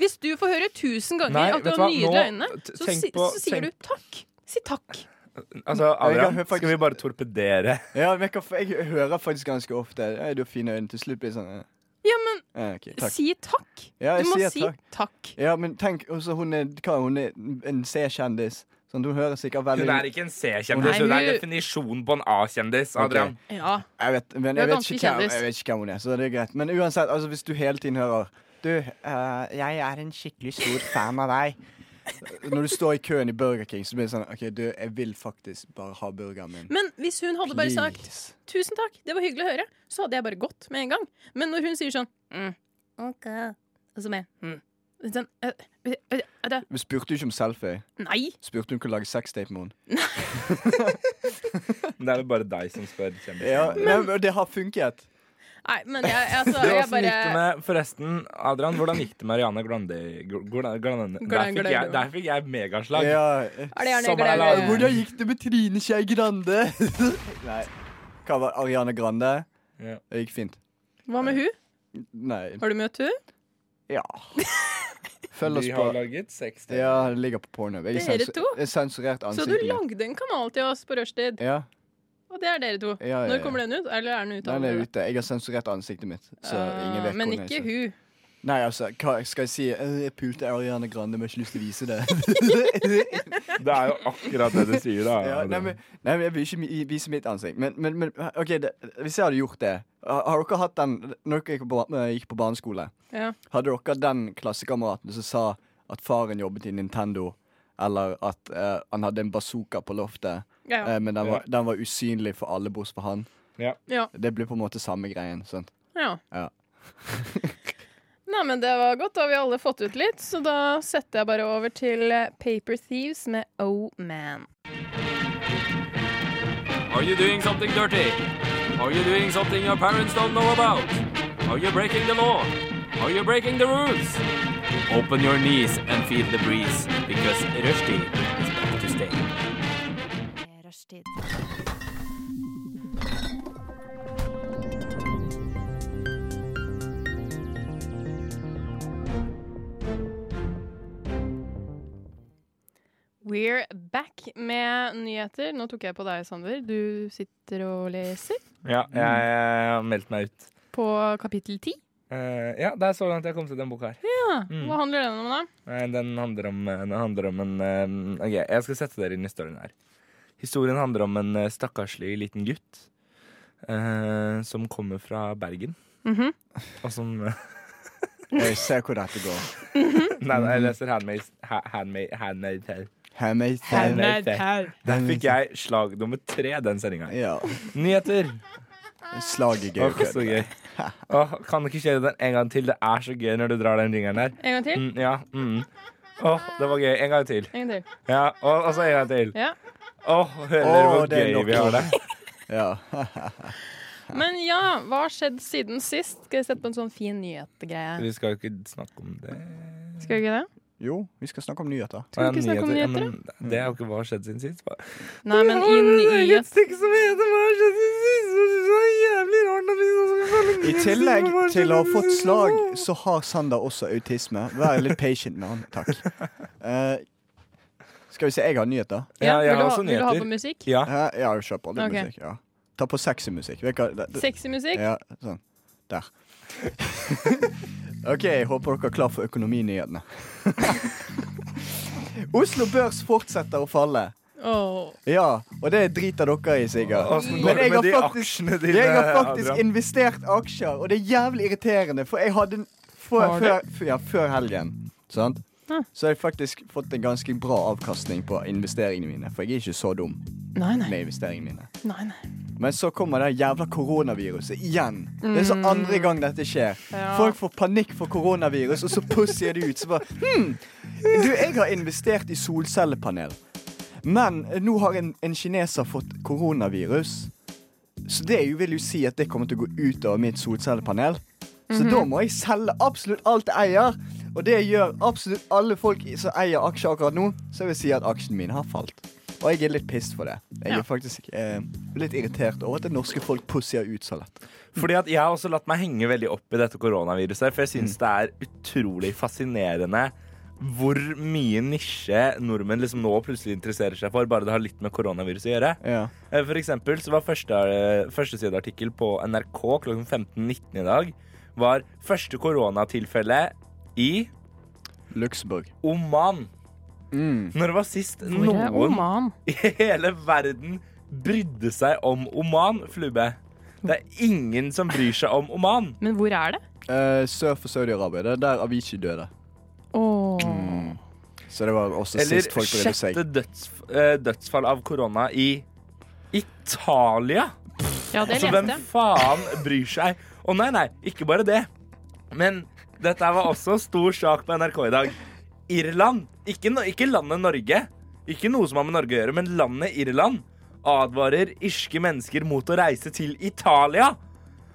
S5: Hvis du får høre tusen ganger
S1: Nei,
S5: at du
S1: vet
S5: har
S1: du hva?
S5: nydelige
S1: Nå-
S5: øyne,
S1: t-
S5: så,
S1: tenk
S5: si,
S1: på-
S5: så sier
S1: tenk-
S5: du takk. Si takk.
S1: Altså, Adrian,
S6: hører faktisk-
S1: skal vi bare torpedere?
S6: Ja, men jeg, kan, jeg hører faktisk ganske ofte «Ei, Du har fine øyne. Til slutt blir det sånn eh,
S5: Ja, men
S6: eh, ok, takk.
S5: si takk.
S6: Ja, jeg
S5: du må
S6: sier
S5: si
S6: takk.
S5: takk.
S6: Ja, men tenk, også hun er, hva, hun er en C-kjendis. Sånn, hun hører sikkert veldig
S1: Hun er ikke en
S5: Nei,
S1: C-kjendis, hun er
S5: hun-
S1: definisjonen på en A-kjendis. Adrian.
S5: Ja.
S6: Jeg vet, men
S5: Du
S6: jeg
S5: er
S6: vet,
S5: ganske
S6: ikke hvem,
S5: kjendis.
S6: jeg vet ikke hvem hun er, så det er greit. Men uansett, altså, hvis du hele tiden hører Du, eh, jeg er en skikkelig stor fan av deg. Når du står i køen i Burger King, så blir det sånn OK, du, jeg vil faktisk bare ha burgeren min.
S5: Men hvis hun hadde bare sagt
S6: Please.
S5: 'tusen takk, det var hyggelig å høre', så hadde jeg bare gått med en gang. Men når hun sier sånn mm, 'OK', og så med mm. sånn, eh, eh, eh, det.
S6: Vi spurte jo ikke om selfie.
S5: Nei!
S6: Spurte hun kunne lage sextape med henne.
S1: Men det er vel bare deg som spør. kjendisen.
S6: Ja, nei, men det har funket.
S5: Nei, men jeg, altså,
S1: Det var
S5: jeg
S1: som
S5: bare
S1: gikk det med, forresten, Adrian, hvordan gikk det med Ariana Grande? Gl- gl- Grande- Der fikk jeg, der fikk jeg megaslag.
S6: Ja.
S5: Er det gjerne
S1: Som er
S5: gleder-
S1: lav.
S6: Hvordan gikk det med Trine Skei Grande? nei. Hva var Ariane Grande?
S1: Ja.
S6: Det gikk fint.
S5: Hva med hun?
S6: Nei.
S5: Har du møtt hun?
S6: Ja. Følg oss
S1: De har
S6: på
S1: laget seks til.
S6: Ja, det ligger på porno. Jeg
S5: Dere
S6: sensu-
S5: to?
S6: jeg sensurerte
S5: Så du
S6: ansiktet. mitt.
S5: lagde en kanal til oss på rushtid,
S6: Ja,
S5: og det er dere to.
S6: ja, ja,
S5: Når
S6: ja.
S5: kommer den ut? Eller er den ute?
S6: Den er
S5: allerede?
S6: ute. Jeg har sensurert ansiktet mitt. Så ingen vet
S5: Ah, men
S6: hvor den er,
S5: ikke
S6: så-
S5: hun.
S6: Nei, altså, hva skal jeg si? Eh, Jeg pulte Ariane Grande, men jeg har ikke lyst til å vise det.
S1: Det er jo akkurat det du sier, da.
S6: ja, nei,
S1: Adrian.
S6: men, nei, men Jeg vil ikke mi- vise mitt ansikt. Men, men, men ok, det, hvis jeg hadde gjort det Har har dere hatt den Når dere gikk på, ba- eh, gikk på barneskole,
S5: Ja.
S6: hadde dere den klassekameraten som sa at faren jobbet i Nintendo, eller at eh, han hadde en bazooka på loftet?
S5: Ja, ja.
S6: Eh, Men den var, den var usynlig for alle bortsett fra han.
S1: Ja.
S5: Ja.
S6: Det blir på en måte samme greien. Sant?
S5: Ja.
S6: Ja.
S5: Nei, men det var godt. Da har vi alle fått ut litt, så da setter jeg bare over til eh, Paper Thieves med Oh Man.
S2: Are you doing something dirty? Are you doing something your parents don't know about? Are you breaking the law? Are you breaking the rules? Open your knees and feel the breeze, because Rushdie is back to stay.
S4: Rushtid.
S5: We're back med nyheter. Nå tok jeg på deg, Sander. Du sitter og leser
S1: ja, jeg har meldt meg ut.
S5: på kapittel ti.
S1: Eh, ja, det er så langt jeg har kommet til den boka her.
S5: Ja.
S1: Mm.
S5: Hva handler den om, da?
S1: Nei, Den handler om, den handler om en eh, Ok, jeg skal sette dere inn i historien her. Historien handler om en eh, stakkarslig liten gutt eh, som kommer fra Bergen,
S5: Mhm.
S1: og som
S6: Jeg ser hvor dette går.
S1: Nei, nei, jeg leser Handmaid's- Ha- Handmaid- Handmaid's Tale.
S6: Handmade
S1: Handmade.
S6: Tale.
S1: Handmaid's Tale. Der fikk jeg slag nummer tre den sendinga.
S6: Ja.
S1: Nyheter!
S6: Slag i gøy.
S1: Åh, så gøy. Åh, kan dere ikke kjøre den en gang til? Det er så gøy når du drar den ringeren der.
S5: En gang til?
S1: Mm, ja. Mm. Åh, det var gøy. En gang til.
S5: En gang til.
S1: Ja, og, og så en gang til.
S5: Ja.
S1: Åh, hører dere
S6: Åh,
S1: hvor
S6: det er
S1: gøy
S6: nok.
S1: vi har det?
S6: Ja.
S5: Men ja, hva har skjedd siden sist? Skal jeg sette på en sånn fin nyhetgreie?
S1: Vi skal jo ikke snakke om det.
S5: Skal vi ikke det?
S6: Jo, vi skal snakke om nyheter.
S5: Skal vi ikke snakke om
S1: Ja,
S5: nyheter,
S1: men det er jo ikke hva har skjedd siden sist. bare.
S5: Nei, men i
S1: Jeg har
S5: nyhet...
S1: et stikk som heter Hva har skjedd siden sist? og Det er så jævlig rart at vi skal snakke om
S6: I
S1: nyheter
S6: tillegg
S1: som har skjedd
S6: til å ha
S1: siden
S6: fått
S1: sist.
S6: slag, så har Sander også autisme. Vær litt patient med han, takk. Eh, skal vi se, jeg har nyheter.
S1: Ja, jeg
S5: vil,
S1: har
S5: du ha,
S1: også
S5: vil du ha på
S1: nyheter.
S5: musikk?
S1: Ja.
S6: Eh, ja, kjør på. Det er
S5: Ok.
S6: musikk. Ja. Ta på sexy musikk. Vet du hva? det- det-
S5: Sexy musikk?
S6: Ja, sånn. Der. OK, jeg håper dere er klar for økonominyhetene. Oslo Børs fortsetter å falle.
S5: Åh.
S6: Ja, og det driter dere i, sikkert.
S1: Åssen går det
S6: jeg
S1: med de
S6: har faktisk,
S1: aksjene dine,
S6: jeg har faktisk
S1: eh, Adrian?
S6: investert aksjer, og det er jævlig irriterende, for jeg hadde en før,
S5: Har du?
S6: før, før- ja, før helgen. Sant?
S5: Ja.
S6: Så har jeg faktisk fått en ganske bra avkastning på investeringene mine, for jeg er ikke så dum
S5: Nei, nei,
S6: med investeringene mine.
S5: nei, nei.
S6: Men så kommer det jævla koronaviruset igjen. Det er så andre gang dette skjer.
S5: Ja.
S6: Folk får panikk for koronavirus, og så pussier de ut. Så bare hm, Du, jeg har investert i solcellepanel, men nå har en, en kineser fått koronavirus. Så det vil jo si at det kommer til å gå ut over mitt solcellepanel. Så da må jeg selge absolutt alt jeg eier. Og det gjør absolutt alle folk i- som eier aksjer akkurat nå. Så jeg vil si at aksjen min har falt. Og jeg er litt pissed for det. Jeg
S5: Ja.
S6: er faktisk eh, litt irritert over at det norske folk pussier ut så lett.
S1: Fordi at Jeg har også latt meg henge veldig opp i dette koronaviruset, for jeg syns det er utrolig fascinerende hvor mye nisje nordmenn liksom nå plutselig interesserer seg for, bare det har litt med koronaviruset å gjøre.
S6: Ja.
S1: Eh, For eksempel så var første, eh, førstesideartikkel på NRK klokken 15.19 i dag var første koronatilfelle i
S6: Luxembourg.
S1: Oman. Når det var sist
S5: Hvor er
S1: noen
S5: Oman?
S1: i hele verden brydde seg om Oman, Flube? Det er ingen som bryr seg om Oman.
S5: Men hvor er det?
S6: Eh, sør for Saudi-Arabia. Det er der Avicii døde.
S5: Åh.
S6: Så det var også
S1: Eller
S6: sist folk brydde seg.
S1: sjette døds, eh, dødsfall av korona i Italia.
S5: Ja, det
S1: Så hvem
S5: leste jeg.
S1: faen bryr seg? Å nei, nei, ikke bare det. Men dette var også stor sak på NRK i dag. Irland, ikke, no- ikke landet Norge, ikke noe som har med Norge å gjøre, men landet Irland, advarer irske mennesker mot å reise til Italia.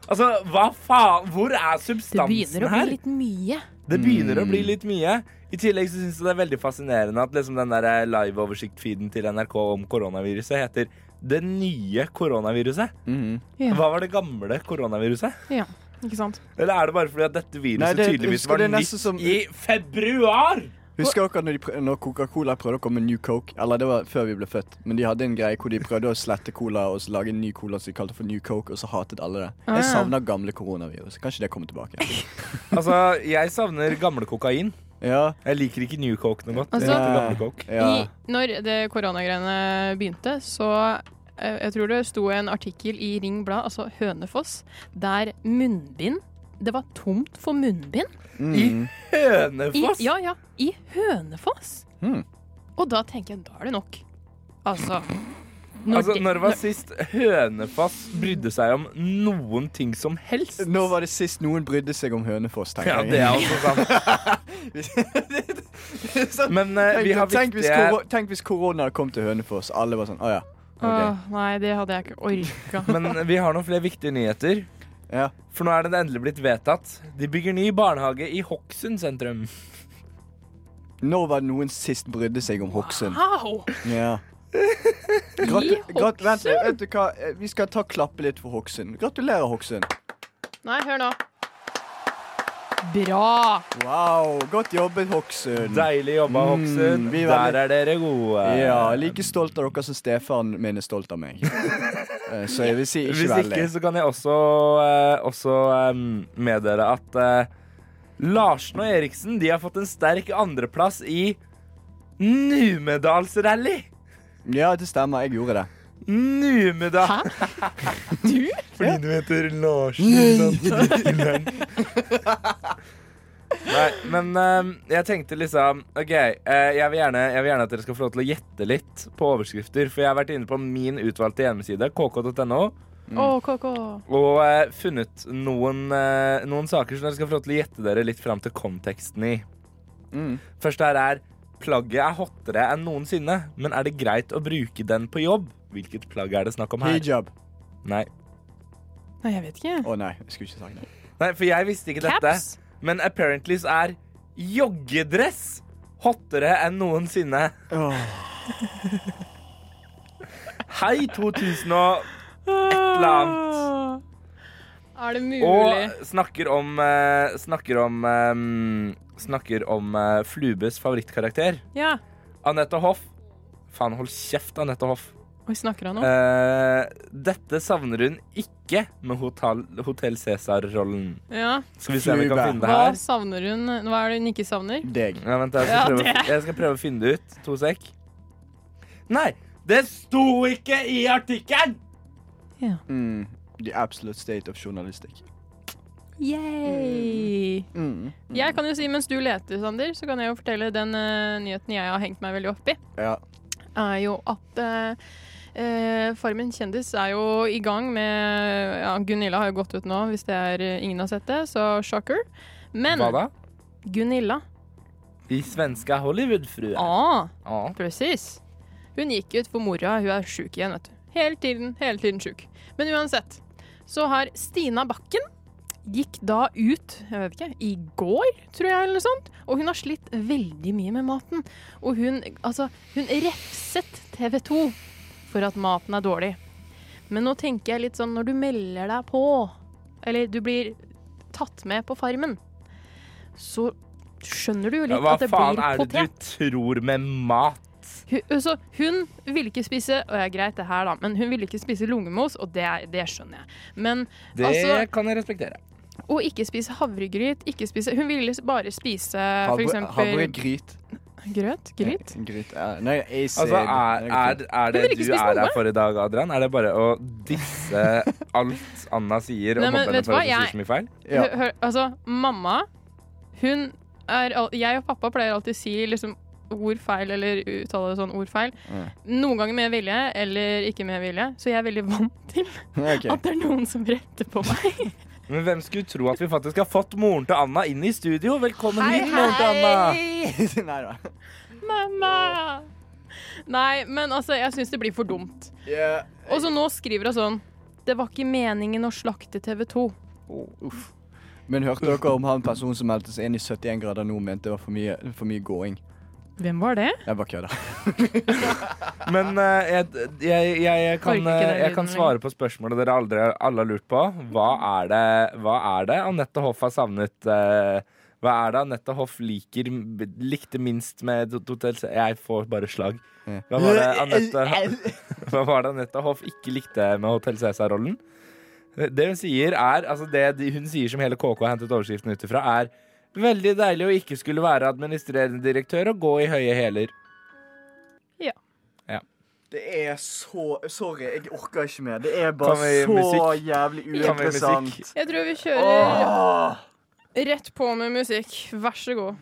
S1: Altså, hva faen? Hvor er
S7: Det
S1: substansen
S7: begynner å
S1: her?
S7: bli litt mye.
S1: Det begynner å bli
S6: Mm.
S1: litt mye. I tillegg så syns jeg det er veldig fascinerende at liksom den der liveoversikt-feeden til NRK om koronaviruset heter 'Det nye koronaviruset'.
S6: Mhm.
S1: Hva var det gamle koronaviruset?
S5: Ja, ikke sant?
S1: Eller er det bare fordi at dette viruset
S6: Nei, det-
S1: tydeligvis
S6: husker
S1: var
S6: det er
S1: nytt
S6: nesten som-
S1: i februar?
S6: Husker dere når, de prø- når Coca-Cola prøvde å komme med New Coke? Eller det var før vi ble født. Men de hadde en greie hvor de prøvde å slette cola og så lage en ny cola som de kalte for New Coke, og så hatet alle det.
S5: Ah.
S6: Jeg savner gamle koronavirus. Kanskje det kommer tilbake.
S1: Altså, jeg savner gamle kokain.
S6: Ja,
S1: Jeg liker ikke New Coke noe godt.
S5: Altså-
S1: jeg liker gamle coke.
S6: ja.
S5: I, når det koronagreiene begynte, så eh, jeg tror det sto en artikkel i Ring Blad, altså Hønefoss, der munnbind Det var tomt for munnbind.
S6: Mm.
S5: I,
S1: Hønefoss?
S5: ja, ja, i Hønefoss.
S6: Hmm.
S5: Og da tenker jeg, da er det nok. Altså når
S1: Altså,
S5: det-
S1: når det var sist Hønefoss brydde seg om noen ting som helst?
S6: Når var det sist noen brydde seg om Hønefoss,
S1: Ja,
S6: tenker
S1: det er også sant. Men eh, vi har
S6: Tenk, tenk, hvis
S1: viktige
S6: koro- tenk hvis korona kom til Hønefoss. Alle var sånn Å ja. ok.
S5: Åh, nei, det hadde jeg ikke orka.
S1: Men eh, vi har noen flere viktige nyheter.
S6: Ja.
S1: For nå er det endelig blitt vedtatt. De bygger ny barnehage i Hokksund sentrum.
S6: Når var det noen sist brydde seg om Hokksund?
S5: Au!
S6: Ja. Gratu grat vent, litt, vet du hva? Eh, Vi skal ta og klappe litt for Hokksund. Gratulerer, Hokksund.
S5: Nei, hør nå. Bra!
S6: Wow, godt jobbet, Hokksund.
S1: Deilig jobba,
S6: Mm,
S1: Hokksund.
S6: vi var
S1: Der er dere gode.
S6: Ja, like stolt av dere som stefaren min er stolt av meg. Eh, Så jeg vil si ikke
S1: Hvis ikke,
S6: veldig.
S1: så kan jeg også, eh, også eh, meddele at eh, Larsen og Eriksen de har fått en sterk andreplass i Numedalsrally.
S6: Ja, det stemmer. Jeg gjorde det.
S1: Numedal... Hæ? Du? Fordi du heter Larsen. Nei, men eh, jeg tenkte liksom OK, eh, jeg, vil gjerne, jeg vil gjerne at dere skal få lov til å gjette litt på overskrifter. For jeg har vært inne på min utvalgte hjemmeside, kk.no, Mm.
S5: Å, KK.
S1: og eh, funnet noen, eh, noen saker som dere skal få lov til å gjette dere litt fram til konteksten i.
S6: Mm.
S1: Først her er plagget er hottere enn noensinne, men er det greit å bruke den på jobb? Hvilket plagg er det snakk om her?
S6: Hijab.
S1: Nei.
S5: Nei, jeg vet ikke.
S6: Å nei, jeg skulle ikke sagt det.
S1: Nei, for jeg visste ikke
S5: Caps?
S1: dette. Men apparently så er joggedress hottere enn noensinne.
S6: Åh.
S1: Hei 2000 og eller
S5: Ah,
S1: annet.
S5: Er det mulig?
S1: Og snakker om eh, Snakker om eh, Snakker om eh, Flubes favorittkarakter.
S5: Ja.
S1: Anette Hoff. Faen, hold kjeft, Anette Hoff.
S5: Oi, snakker han nå?
S1: Eh, dette savner hun ikke med Hotel, Hotel Cæsar-rollen.
S5: Ja.
S1: Skal vi se om vi kan
S6: Flube.
S1: finne det
S5: Hva
S1: her.
S5: savner hun? Hva er det hun ikke savner?
S6: Deg.
S1: Ja, vent, jeg skal,
S5: Ja,
S1: prøve, jeg skal prøve å finne det ut. To sek. Nei, det sto ikke i artikkelen!
S6: Mm. The absolute state of journalistikk.
S5: Yay!
S6: Mm.
S5: Jeg kan jo si, mens du leter, Sander, så kan jeg jo fortelle den eh, nyheten jeg har hengt meg veldig opp i,
S6: Ja.
S5: er jo at eh, eh, Farmen kjendis er jo i gang med Ja, Gunilla har jo gått ut nå, hvis det er eh, ingen har sett det, så shocker. Men
S1: Hva da?
S5: Gunilla
S1: De svenske Hollywood-fruer.
S5: Ah,
S1: Ja.
S5: Precis. Hun gikk ut for mora, hun er sjuk igjen, vet du. Hele tiden, hele tiden sjuk. Men uansett, så har Stina Bakken gikk da ut, jeg vet ikke, i går, tror jeg, eller noe sånt. Og hun har slitt veldig mye med maten. Og hun, altså, hun refset TV 2 for at maten er dårlig. Men nå tenker jeg litt sånn, når du melder deg på, eller du blir tatt med på farmen, så skjønner du jo litt
S1: Hva
S5: at det
S1: faen
S5: blir
S1: er det
S5: potet.
S1: du tror med mat?
S5: Hun, altså, hun ville ikke spise Og jeg er greit det her da Men hun ville ikke spise lungemos Og det, er- det skjønner jeg Men
S1: Det
S5: altså
S1: kan jeg respektere.
S5: Å ikke spise havregryt Ikke spise Hun ville bare spise Eh, For
S6: Havre-
S5: eksempel
S6: Havregryt.
S5: Grøt Gryt
S6: Eh, Gryt. ja. Nei, jeg ser
S1: Altså, er, er, er det
S5: vil ikke
S1: du
S5: spise
S1: er
S5: noe.
S1: her for i dag, Adrian? Er det bare å disse alt Anna sier, og
S5: Nei, men
S1: mobbe henne
S5: vet du
S1: for
S5: hva?
S1: at hun
S5: Jeg-
S1: sier så mye feil?
S6: Ja.
S5: hør, hør, Altså mamma Hun er al- Jeg og pappa pleier alltid å si Liksom ordfeil Eller uttale det sånn ordfeil
S6: Mm.
S5: Noen ganger med vilje Eller ikke med vilje Så jeg er veldig vant til
S6: Ok.
S5: At det er noen som retter på meg
S1: Men hvem skulle tro at vi faktisk har fått moren til Anna inn i studio? Velkommen
S5: Hei,
S1: hit, moren til Anna.
S6: Nei da.
S5: Mamma! Nei, men altså, jeg syns det blir for dumt.
S6: Yeah.
S5: Og så nå skriver hun sånn Det var ikke meningen å slakte TV 2.
S6: Oh, uff. Men hørte dere om han personen som meldte seg inn i 71 grader nå, mente det var for mye, for mye gåing?
S5: Hvem var det?
S6: Jeg bare kødder.
S1: Men eh, jeg, jeg, jeg, jeg,
S5: Orker
S1: kan,
S5: ikke den
S1: eh, jeg kan
S5: lyden
S1: svare på spørsmålet dere aldri, alle har lurt på. Hva er det, hva er det Anette Hoff har savnet? eh, hva er det Anette Hoff liker, likte minst med et hotell? Se- Jeg får bare slag. Hva var det Anette, hva var det Anette Hoff ikke likte med Hotell Cæsar-rollen? Det hun sier er, altså det de- hun sier som hele KK har hentet overskriften ut ifra, er Veldig deilig å ikke skulle være administrerende direktør og gå i høye hæler.
S6: Det er så Sorry, jeg orker ikke mer. Det er
S1: bare Kan vi så musikk?
S6: jævlig
S1: Kan vi musikk?
S5: Jeg tror vi kjører rett på med musikk. Vær så god.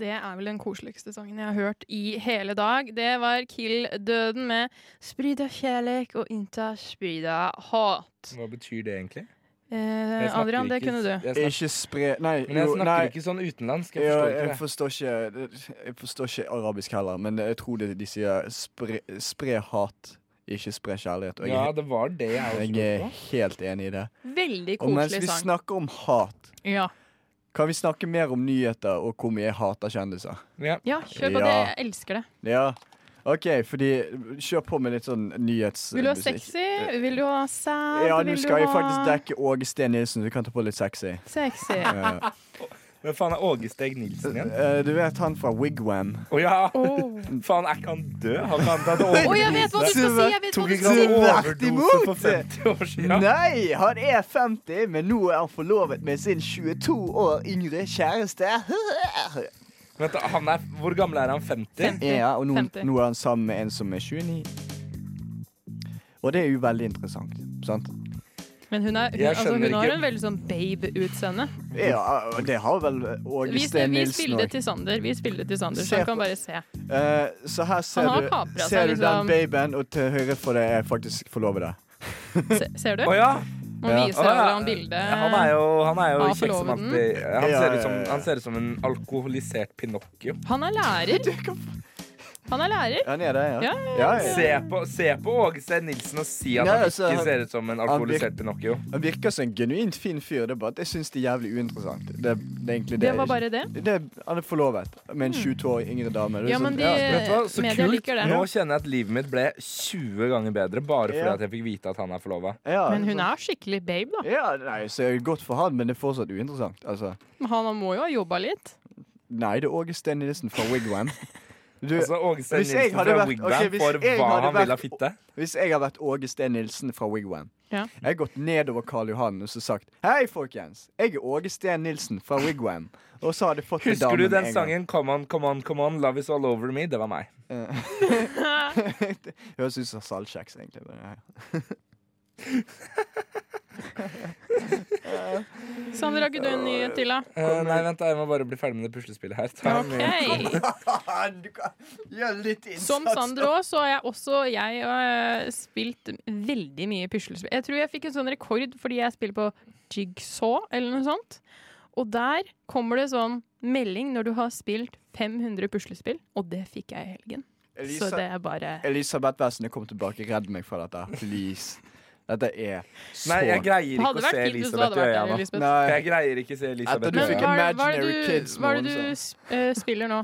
S5: Det er vel den koseligste sangen jeg har hørt i hele dag. Det var Kill Døden med 'Sprida kjærlek og innta sprida hat'.
S1: Hva betyr det egentlig?
S5: Eh,
S1: Jeg snakker
S5: Adrian, det
S1: ikke-
S5: kunne du.
S1: Jeg snakker,
S6: Ikke spre Nei.
S1: men jeg
S6: jo,
S1: snakker
S6: nei.
S1: ikke sånn utenlandsk. Jeg
S6: Ja,
S1: forstår ikke
S6: jeg
S1: det.
S6: forstår ikke Jeg forstår ikke arabisk heller, men jeg tror det de sier spre, spre hat, ikke spre kjærlighet. Og
S1: Ja,
S6: jeg,
S1: det var det jeg også
S6: jeg er
S1: lurte på.
S6: helt enig i det.
S5: Veldig
S6: Og mens
S5: koselig
S6: vi
S5: sang.
S6: snakker om hat,
S5: Ja.
S6: kan vi snakke mer om nyheter og hvor mye jeg hater kjendiser?
S1: Ja.
S5: ja, kjør på. Det,
S6: Ja.
S5: jeg elsker det.
S6: Ja, OK, fordi Kjør på med litt sånn nyhetsmusikk.
S5: Vil du ha sexy? Vil du ha sad?
S6: Ja, nå
S5: Vil du
S6: skal jeg
S5: ha
S6: faktisk dekke Åge Steen Nilsen, så du kan ta på litt sexy.
S5: Sexy.
S6: Ja.
S1: Men faen, er Åge Steg Nilsen igjen?
S6: Eh, du vet han fra Wigwam?
S1: Å ja!
S5: Oh.
S1: Faen, er ikke han død? Har ikke han tatt overdose?
S5: Å, jeg vet hva du skal si! Jeg vet hva
S6: Tok
S5: du
S6: ikke
S5: skal si.
S6: sant? Tvert
S1: Overdose
S6: imot!
S1: for 50 år siden?
S6: Nei, han er 50, men nå er han forlovet med sin 22 år yngre kjæreste.
S1: Vent, da, han er, hvor gammel er han? 50?
S6: Ja, og nå,
S5: 50.
S6: nå er han sammen med en som er 29. Og det er jo veldig interessant, sant?
S5: Men hun, er, hun,
S1: Jeg
S5: altså,
S1: skjønner
S5: hun har
S1: ikke.
S5: en veldig sånn babe-utseende.
S6: Ja, og det har vel Åge
S5: Vis,
S6: Steen
S5: vis
S6: Nilsen
S5: bildet
S6: òg.
S5: til Sander, vis bildet til Sander
S6: Se
S5: så han kan
S6: på-
S5: bare se.
S6: Eh, så her ser
S5: Han har
S6: du,
S5: kapret seg,
S6: ser du
S5: liksom.
S6: den babyen, og til høyre for deg er faktisk forlovede.
S5: se ser du?
S1: Å ja!
S5: Nå
S6: Ja.
S5: viser
S1: Å, ja.
S5: han bildet.
S1: Han er jo, han er jo
S5: Av
S1: kjeksemann. Han,
S5: forloveden.
S6: Ja,
S1: ser ut
S6: ja,
S1: som-
S6: ja.
S1: han ser ut som en alkoholisert Pinocchio.
S5: Han er lærer. Han er lærer.
S6: Han er det, ja?
S5: Ja,
S1: Se på, se på Åge Steen Nilsen og si at
S6: Nei,
S1: han
S6: altså,
S1: ikke
S6: han-
S1: ser ut som en alkoholisert Pinocchio.
S6: Han virker som en genuint fin fyr, det er bare at jeg syns det er jævlig uinteressant. Det, er- det er egentlig det.
S5: Det var bare det. Hmm.
S6: det er, han er forlovet med en 22 år yngre dame. Det er
S5: Ja, men de
S1: Vet du hva? Så
S5: media
S1: kult.
S5: liker
S1: Nå
S5: det.
S1: kjenner jeg at livet mitt ble 20 ganger bedre bare fordi
S6: Ja.
S1: at jeg fikk vite at han er forlova.
S6: ja, sånn-
S5: Men hun er skikkelig babe, da.
S6: Ja, nei, så er det godt for han, men det er fortsatt uinteressant. Altså,
S5: Han må jo ha jobba litt.
S6: nei, det er Åge Steen Nilsen fra Wigwam. Du,
S1: Altså, Åge Steen
S6: Hvis jeg
S1: Nilsen
S6: hadde
S1: fra
S6: vært-
S1: Wigwam
S6: ok, hvis
S1: for
S6: jeg
S1: hva
S6: hadde
S1: han ville ha
S6: vært-
S1: fitte.
S6: hvis jeg har vært Åge Steen Nilsen fra Wigwam
S5: Ja.
S6: Jeg har gått nedover Karl Johan og så sagt Hei, folkens, jeg er Åge Steen Nilsen fra Wigwam. Og så har jeg fått en dame
S1: Husker du
S6: med
S1: den
S6: en gang.
S1: sangen 'Come on, come on, come on, love is all over me'? Det var meg.
S6: Høres ut som saltkjeks, egentlig. Men, ja.
S5: Sander, har ikke du en nyhet til, da?
S1: Eh, nei, vent, da, jeg må bare bli ferdig med det puslespillet her. Ta en ny-
S5: OK.
S6: du kan gjøre litt innsats.
S5: Som Sander òg, så har jeg også jeg, øh, spilt veldig mye puslespill. Jeg tror jeg fikk en sånn rekord fordi jeg spiller på Jigsaw eller noe sånt. Og der kommer det sånn melding når du har spilt 500 puslespill, og det fikk jeg i helgen. Så det er bare
S6: Elisabeth Wessene, kom tilbake. Redd meg fra dette. Please. Dette er så
S1: Nei, jeg greier
S5: Det
S1: ikke
S5: hadde
S1: å se
S5: vært fint hvis du
S1: Elisabeth
S5: hadde
S1: i
S5: vært
S1: øya
S5: der,
S1: nå.
S5: Elisabeth.
S6: Nei.
S1: Jeg greier ikke å se Elisabeth i
S6: du fikk
S1: øya.
S5: hva er, hva er det
S6: Imaginary
S5: du,
S6: Kids
S5: hva er det
S6: morgen,
S5: du sp- øh, spiller nå?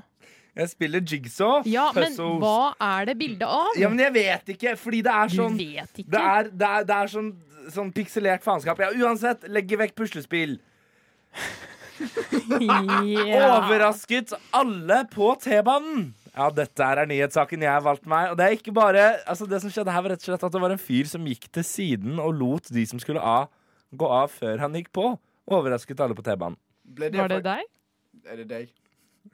S1: Jeg spiller jigsaw.
S5: Ja, men
S1: puzzles.
S5: hva er det bilde av?
S1: Ja, men jeg vet ikke, fordi det er
S5: Du
S1: sånn
S5: vet
S1: Det
S5: ikke.
S1: er, det er, det er sånn, sånn pikselert faenskap. Ja, uansett, legge vekk puslespill.
S5: Ja.
S1: Overrasket alle på T-banen. Ja, dette her er nyhetssaken jeg har valgt meg. Og det er ikke bare Altså, det som skjedde her, var rett og slett at det var en fyr som gikk til siden og lot de som skulle av, gå av før han gikk på. Overrasket alle på T-banen.
S6: Ble
S5: Var det deg?
S6: Er det deg?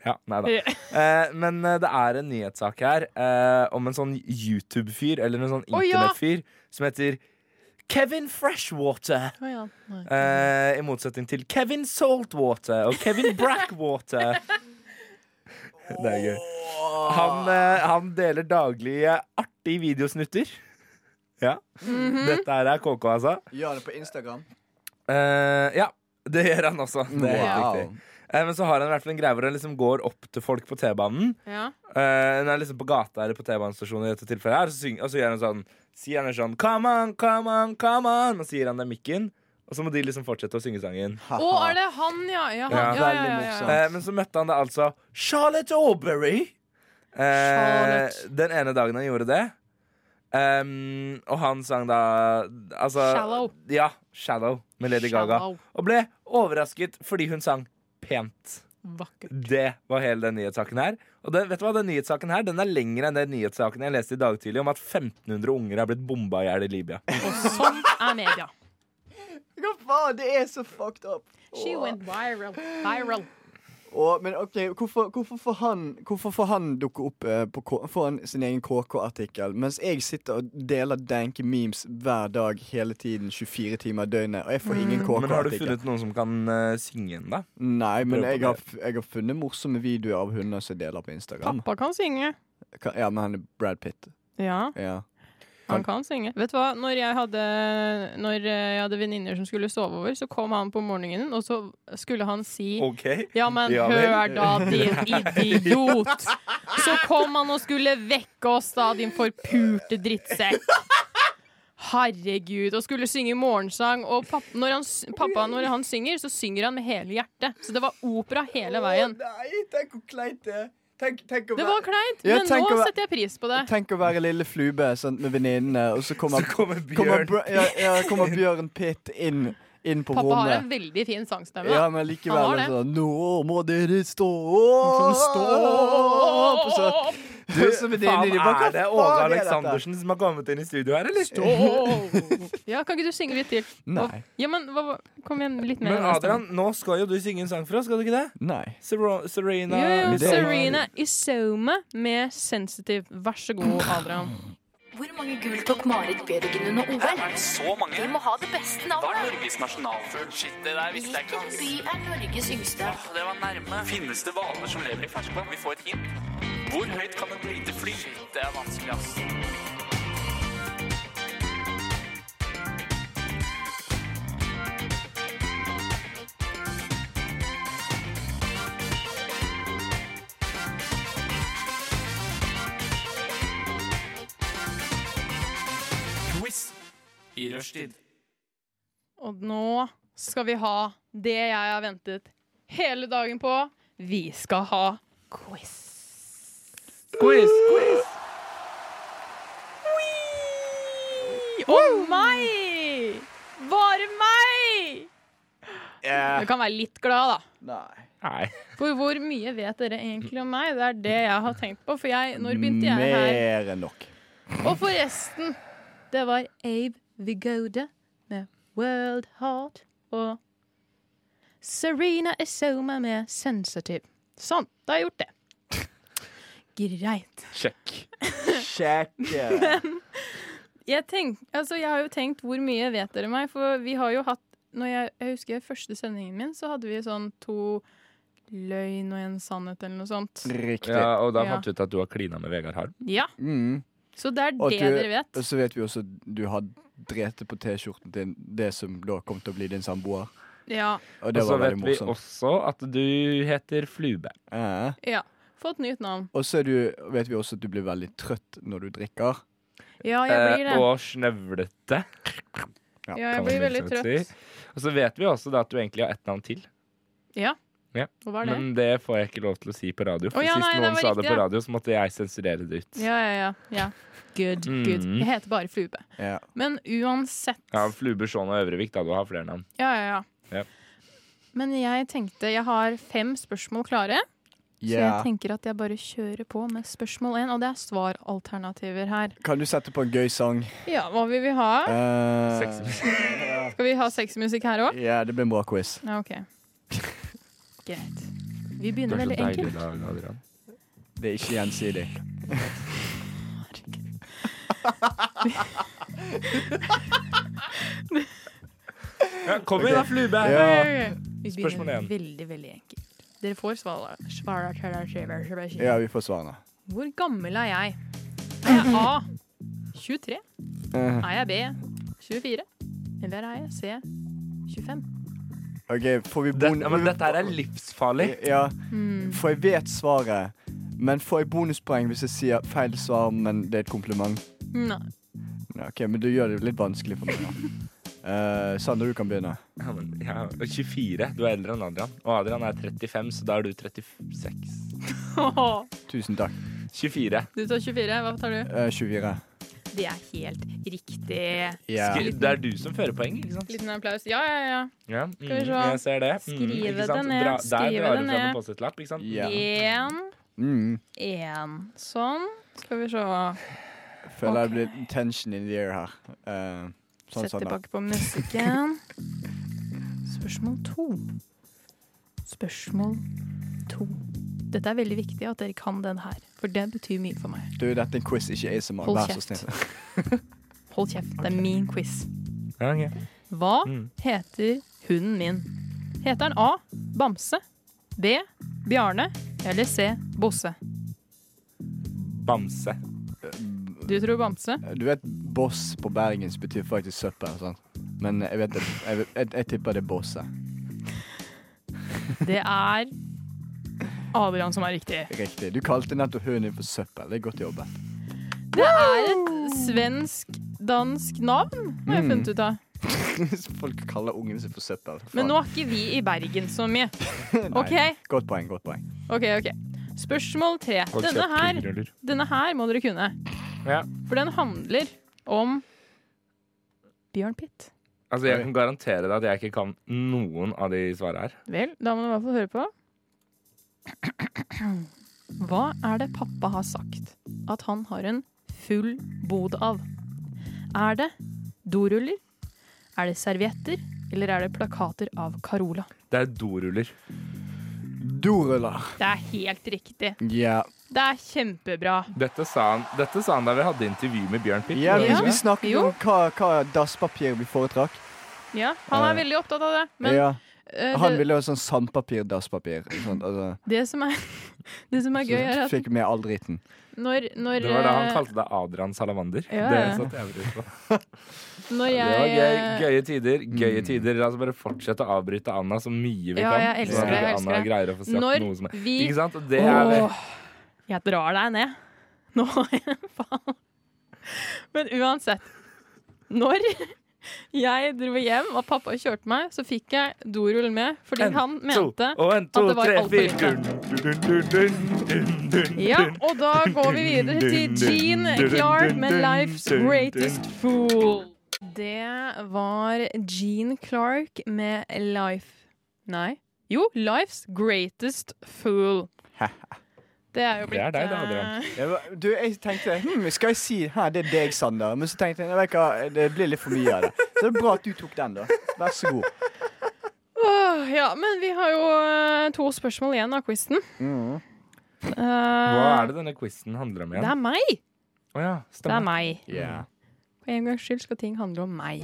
S1: Ja, nei da. Eh, men eh, det er en nyhetssak her eh, om en sånn YouTube-fyr, eller en sånn
S5: Å, ja!
S1: internettfyr, som heter Kevin Freshwater.
S5: Å ja. Nei.
S1: Eh, I motsetning til Kevin Saltwater og Kevin Brackwater. Det er gøy. Han, eh, han deler daglig eh, artige videosnutter. Ja. Dette her er KK, altså.
S6: Gjør det på Instagram.
S1: Eh, ja, det gjør han også. Det er helt
S6: Wow.
S1: riktig. Eh, men så har han i hvert fall en greie hvor han liksom går opp til folk på T-banen.
S5: Ja.
S1: Eh, Hun er liksom på gata eller på T-banestasjonen, i dette tilfellet her, og så, syng, og så gjør han sånn Sier han sånn Come on, come on, come on! Og så gir han dem mikken, og så må de liksom fortsette å synge sangen.
S6: Haha.
S5: Å, er det han, ja? Ja, han,
S1: Ja.
S5: ja, ja, ja, ja, ja.
S1: Eh, men så møtte han da altså Charlotte Aubrey. Eh,
S5: Charlotte.
S1: den ene dagen han gjorde det. Ehm, og han sang da altså,
S5: Shallow.
S1: Ja, Shallow med Lady Gaga.
S5: Shallow.
S1: Og ble overrasket fordi hun sang pent.
S5: Vakkert.
S1: Det var hele den nyhetssaken her. Og den, vet du hva, den nyhetssaken her Den er lengre enn den nyhetssaken jeg leste i dag tidlig om at 1500 unger er blitt bomba i hjel i Libya.
S5: Og sånn er media.
S6: Hva faen, det er så fucked up.
S5: She went viral. Viral.
S6: Å, men ok, hvorfor, hvorfor, får han, hvorfor får han dukke opp eh, på K får han sin egen KK-artikkel, mens jeg sitter og deler danke memes hver dag hele tiden, 24 timer i døgnet, og jeg
S5: Mm.
S6: får ingen
S1: Men har du
S6: KK-artikkel?
S1: funnet noen som kan eh, synge den, da?
S6: Nei, men
S1: Prøv på
S6: jeg har, f- jeg har funnet morsomme videoer av hunder som jeg deler på Instagram.
S5: Pappa kan synge.
S6: Ka- Ja, men han er Brad Pitt.
S5: Ja,
S6: Ja.
S5: han kan synge. Vet du hva, når jeg hadde, når eh, jeg hadde venninner som skulle sove over, så kom han på morgenen, og så skulle han si
S1: OK?
S5: Ja, men
S1: Ja vel.
S5: hør da, din idiot! Så kom han og skulle vekke oss, da, din forpurte drittsekk. Herregud. Og skulle synge morgensang. Og papp, når han, s- pappa, når han synger, så synger han med hele hjertet. Så det var opera hele veien.
S6: Å, nei, tenk hvor kleint det er. Tenk, tenk å
S5: Det
S6: være-
S5: var kleint,
S6: Ja,
S5: men
S6: tenk å
S5: nå
S6: være-
S5: setter jeg pris på det.
S6: Tenk å være lille flube sant, med venninnene, og så kommer,
S1: Så kommer Bjørn.
S6: kommer, Bra- ja, ja, kommer Bjørn Pitt inn, inn på
S5: Pappa har
S6: rommet.
S5: en veldig fin sangstemme.
S6: Ja, men
S5: Han
S6: likevel
S5: har det.
S6: altså, Nå må dere stå
S1: Stå
S6: opp! Og så,
S1: Du,
S6: og så venninnene
S1: faen,
S6: de bare,
S1: er det
S6: «Hva
S1: Åge
S6: faen er dette?»
S1: Aleksandersen som har kommet inn i studio her, eller?
S5: Ja, kan ikke du synge litt til?
S6: Nei.
S5: Ja, men hva, hva- kom igjen, litt mer.
S1: Men Adrian, nå skal jo du synge en sang for oss, skal du ikke det?
S6: Nei.
S1: Sero- Serena
S5: Jo, jo,
S6: Det er-
S5: Serena Isome med 'Sensitive'. Vær så god, Adrian.
S7: Hvor mange gull tok Marit Bjørgen under OL?
S2: Er Så mange?
S7: Vi må ha det beste navnet.
S2: Norges nasjonalfugl? Shit, det der
S7: Hvilken by er Norges yngste?
S2: Det var nærme. Finnes det hvaler som lever i ferskvann? Vi får et hint. Hvor høyt kan et lite fly? Det er vanskelig, ass. Quiz i rushtid.
S5: Og nå skal vi ha det jeg har ventet hele dagen på. Vi skal ha quiz.
S1: Quiz, quiz!
S5: Og meg! Bare meg! Du kan være litt glad, da.
S6: Nei.
S1: Nei.
S5: For hvor mye vet dere egentlig om meg? Det er det jeg har tenkt på. For jeg, når begynte jeg her?
S6: Mer enn nok.
S5: Og forresten, det var Abe Vigode med World Heart og Serena Isoma med Sensitive. Sånn, da har jeg gjort det. Greit.
S1: Sjekk.
S6: Kjekke.
S5: Jeg, tenk, altså jeg har jo tenkt hvor mye vet dere meg, for vi har jo hatt når jeg, jeg husker første sendingen min, så hadde vi sånn to løgn og en sannhet eller noe sånt.
S6: Riktig.
S1: Ja, og da
S5: Ja.
S1: fant vi ut at du har klina med Vegard Harm.
S5: Ja,
S6: Mm.
S5: Så det er
S6: Og
S5: det
S6: du-
S5: dere vet.
S6: Og så vet vi også at du har drete på T-skjorten din, det som da kom til å bli din samboer.
S5: Ja,
S6: Og
S1: Og
S6: det
S1: så
S6: var
S1: vet
S6: veldig
S1: vi
S6: morsomt.
S1: også at du heter Flube.
S6: Ja.
S5: ja. Fått nytt navn.
S6: Og så er du- vet vi også at du blir veldig trøtt når du drikker.
S5: Ja, jeg blir
S1: Eh,
S5: det.
S1: og snøvlete.
S5: Ja, jeg
S1: kan
S5: blir
S1: man
S5: veldig
S1: liksom
S5: trøtt.
S1: si. Og så vet vi også da at du egentlig har ett navn til,
S5: Ja.
S1: Ja.
S5: Hva var det?
S1: men det får jeg ikke lov til å si på radio. For
S5: Å, ja,
S1: sist
S5: nei, det
S1: noen
S5: var
S1: sa det
S5: riktig,
S1: på
S5: ja.
S1: radio, så måtte jeg sensurere det ut.
S5: Ja, ja, ja. ja. Good,
S1: Mm.
S5: good. Jeg heter bare Flube.
S6: Ja.
S5: Men uansett
S1: Ja, Flube, Skjån og Øvrevik, da. Du har flere navn.
S5: Ja, ja, ja.
S1: Ja.
S5: Men jeg tenkte Jeg har fem spørsmål klare, så jeg
S6: Yeah.
S5: tenker at jeg bare kjører på med spørsmål én, og det er svaralternativer her.
S6: Kan du sette på en gøy sang?
S5: Ja, hva vil vi ha?
S6: Eh,
S1: Sexy.
S5: Skal vi ha sexmusikk her òg?
S6: Ja, det blir en bra quiz.
S5: Ja, OK. Greit. Vi
S1: Du
S5: begynner
S1: er så
S5: veldig
S1: deilig
S5: enkelt.
S1: i dag, Adrian.
S6: Det er ikke gjensidig.
S1: Ja, kom igjen, da, Flube!
S6: Ja,
S5: Ok, Vi
S1: Spørsmål
S5: begynner
S1: én.
S5: veldig, veldig enkelt. Dere får svar- svaralternativer.
S6: ja vi får svarene.
S5: Hvor gammel er jeg? Er jeg A 23?
S6: Eh,
S5: Er jeg B 24? Eller er jeg C 25.
S6: OK, får vi
S1: Det,
S6: bon-
S1: ja, men dette her er livsfarlig.
S6: Ja,
S5: Mm.
S6: for jeg vet svaret. Men får jeg bonuspoeng hvis jeg sier feil svar, men det er et kompliment?
S5: Nei.
S6: Ja, OK, men du gjør det jo litt vanskelig for meg. da. Eh, Sander, du kan begynne.
S1: Ja, men, ja, og 24. Du er eldre enn Adrian. Og Adrian er 35, så da er du 36.
S6: Tusen takk.
S1: 24.
S5: Du tar 24. Hva tar du?
S6: Eh, 24.
S5: Det er helt riktig.
S6: Ja.
S1: Skri- Det er du som fører poeng, ikke sant?
S5: Liten applaus. Ja, ja, ja.
S1: Ja, mm,
S5: vi se.
S1: jeg ser det. Mm,
S5: Skrive
S1: ikke
S5: det
S1: sant?
S5: ned,
S1: Dra, der
S5: skrive
S1: drar
S5: det
S1: du fram
S5: ned.
S1: en Post-It-lapp, ikke sant?
S6: Ja.
S5: Én,
S6: Mm.
S5: én. Sånn. Skal vi se.
S6: Føler jeg blir tension in the air her. Eh, sånn,
S5: Sett
S6: sånn, da.
S5: tilbake på musikken. Spørsmål to. Spørsmål to. Dette er veldig viktig at dere kan den her, for det betyr mye for meg.
S6: Du, dette er en quiz, ikke ASMR.
S5: Hold
S6: Vær så
S5: kjeft.
S6: snill.
S5: Hold kjeft, det er min quiz.
S1: Ja, ok.
S5: Hva
S1: Mm.
S5: heter hunden min? Heter den A. Bamse? B. Bjarne? Eller C. Bosse?
S1: Bamse.
S5: Du tror Bamse?
S6: Eh, Du vet boss på bergensk betyr faktisk søppel, sant? Men jeg vet jeg, vet- jeg, jeg tipper det er bosset.
S5: Det er Adrian som er riktig.
S6: Riktig. Du kalte nettopp hunden din for søppel. Det er godt jobbet.
S5: Det er et svensk-dansk navn, har
S6: Mm.
S5: jeg funnet ut av.
S6: Folk kaller ungen sin for søppel.
S5: Men
S6: Faen.
S5: nå er ikke vi i Bergen så mye.
S6: Nei.
S5: OK,
S6: Godt poeng, godt poeng.
S5: ok, ok. Spørsmål tre.
S1: Hold
S5: Denne
S1: kjeft,
S5: her,
S1: kukkeruller.
S5: denne her må dere kunne.
S1: Ja.
S5: For den handler om Bjørn Pitt.
S1: Altså, jeg kan garantere deg at jeg ikke kan noen av de svarene her.
S5: Vel, da må du i hvert fall høre på. Hva er det pappa har sagt at han har en full bod av? Er det doruller? Er det servietter? Eller er det plakater av Carola?
S1: Det er doruller.
S6: Doruller.
S5: Det er helt riktig.
S6: Ja.
S5: Det er kjempebra.
S1: Dette sa han, dette sa han da vi hadde intervju med Bjørn Pitt.
S6: ja.
S5: Ja.
S6: Vi, vi snakket
S5: Jo.
S6: om hva, hva dasspapir vi foretrakk.
S5: Ja, han er
S6: Eh,
S5: veldig opptatt av det. Men
S6: ja.
S5: eh,
S6: Han
S5: det,
S6: ville ha sånn sandpapir-dasspapir. Sånn, altså.
S5: det, som er, det som er gøy, er
S6: Så
S5: at
S6: fikk med all dritten.
S5: når, når,
S1: Det var da han
S5: eh,
S1: kalte deg Adrian Salamander.
S5: Ja,
S1: Det
S5: ja.
S1: satte jeg pris på.
S5: eh, når
S1: Det var gøy.
S5: jeg eh,
S1: Gøye tider. Gøye tider. La oss bare fortsette å avbryte Anna så mye vi
S5: Ja,
S1: kan.
S5: jeg elsker
S1: sånn at
S5: det, jeg
S1: ikke
S5: elsker
S1: Anna
S5: det.
S1: greier å få sagt
S5: Når
S1: noe som er
S5: vi-
S1: Ikke sant? Og Det er
S5: Åh, jeg drar deg ned. Nå faen. Men uansett. Når jeg dro hjem og pappa kjørte meg, så fikk jeg dorull med fordi
S1: En,
S5: han
S1: to,
S5: mente
S1: og en, to,
S5: at det var
S1: tre,
S5: alt for
S1: fire
S5: lite.
S1: dun, dun, dun, dun, dun, dun,
S5: Ja,
S1: dun.
S5: og da går vi videre til Gene Clark med 'Life's Greatest Fool'. Det var Gene Clark med 'Life' Nei. Jo, 'Life's Greatest Fool'. Det er jo
S1: Det
S5: blitt
S1: er deg, det,
S5: eh,
S1: Adrian.
S6: Jeg, var- du, jeg tenkte hm, Skal jeg si her, det er deg, Sander? Men så tenkte jeg vet du hva, det blir litt for mye av det. Så det er bra at du tok den, da. Vær så god.
S5: Åh, ja, men vi har jo eh, to spørsmål igjen av quizen.
S1: Mm.
S5: Eh,
S1: Hva er det denne quizen handler om
S5: Det
S1: igjen?
S5: er meg!
S1: Å ja,
S5: Det er
S1: stemmer.
S5: meg.
S6: Yeah.
S5: For en gangs skyld skal ting handle om meg.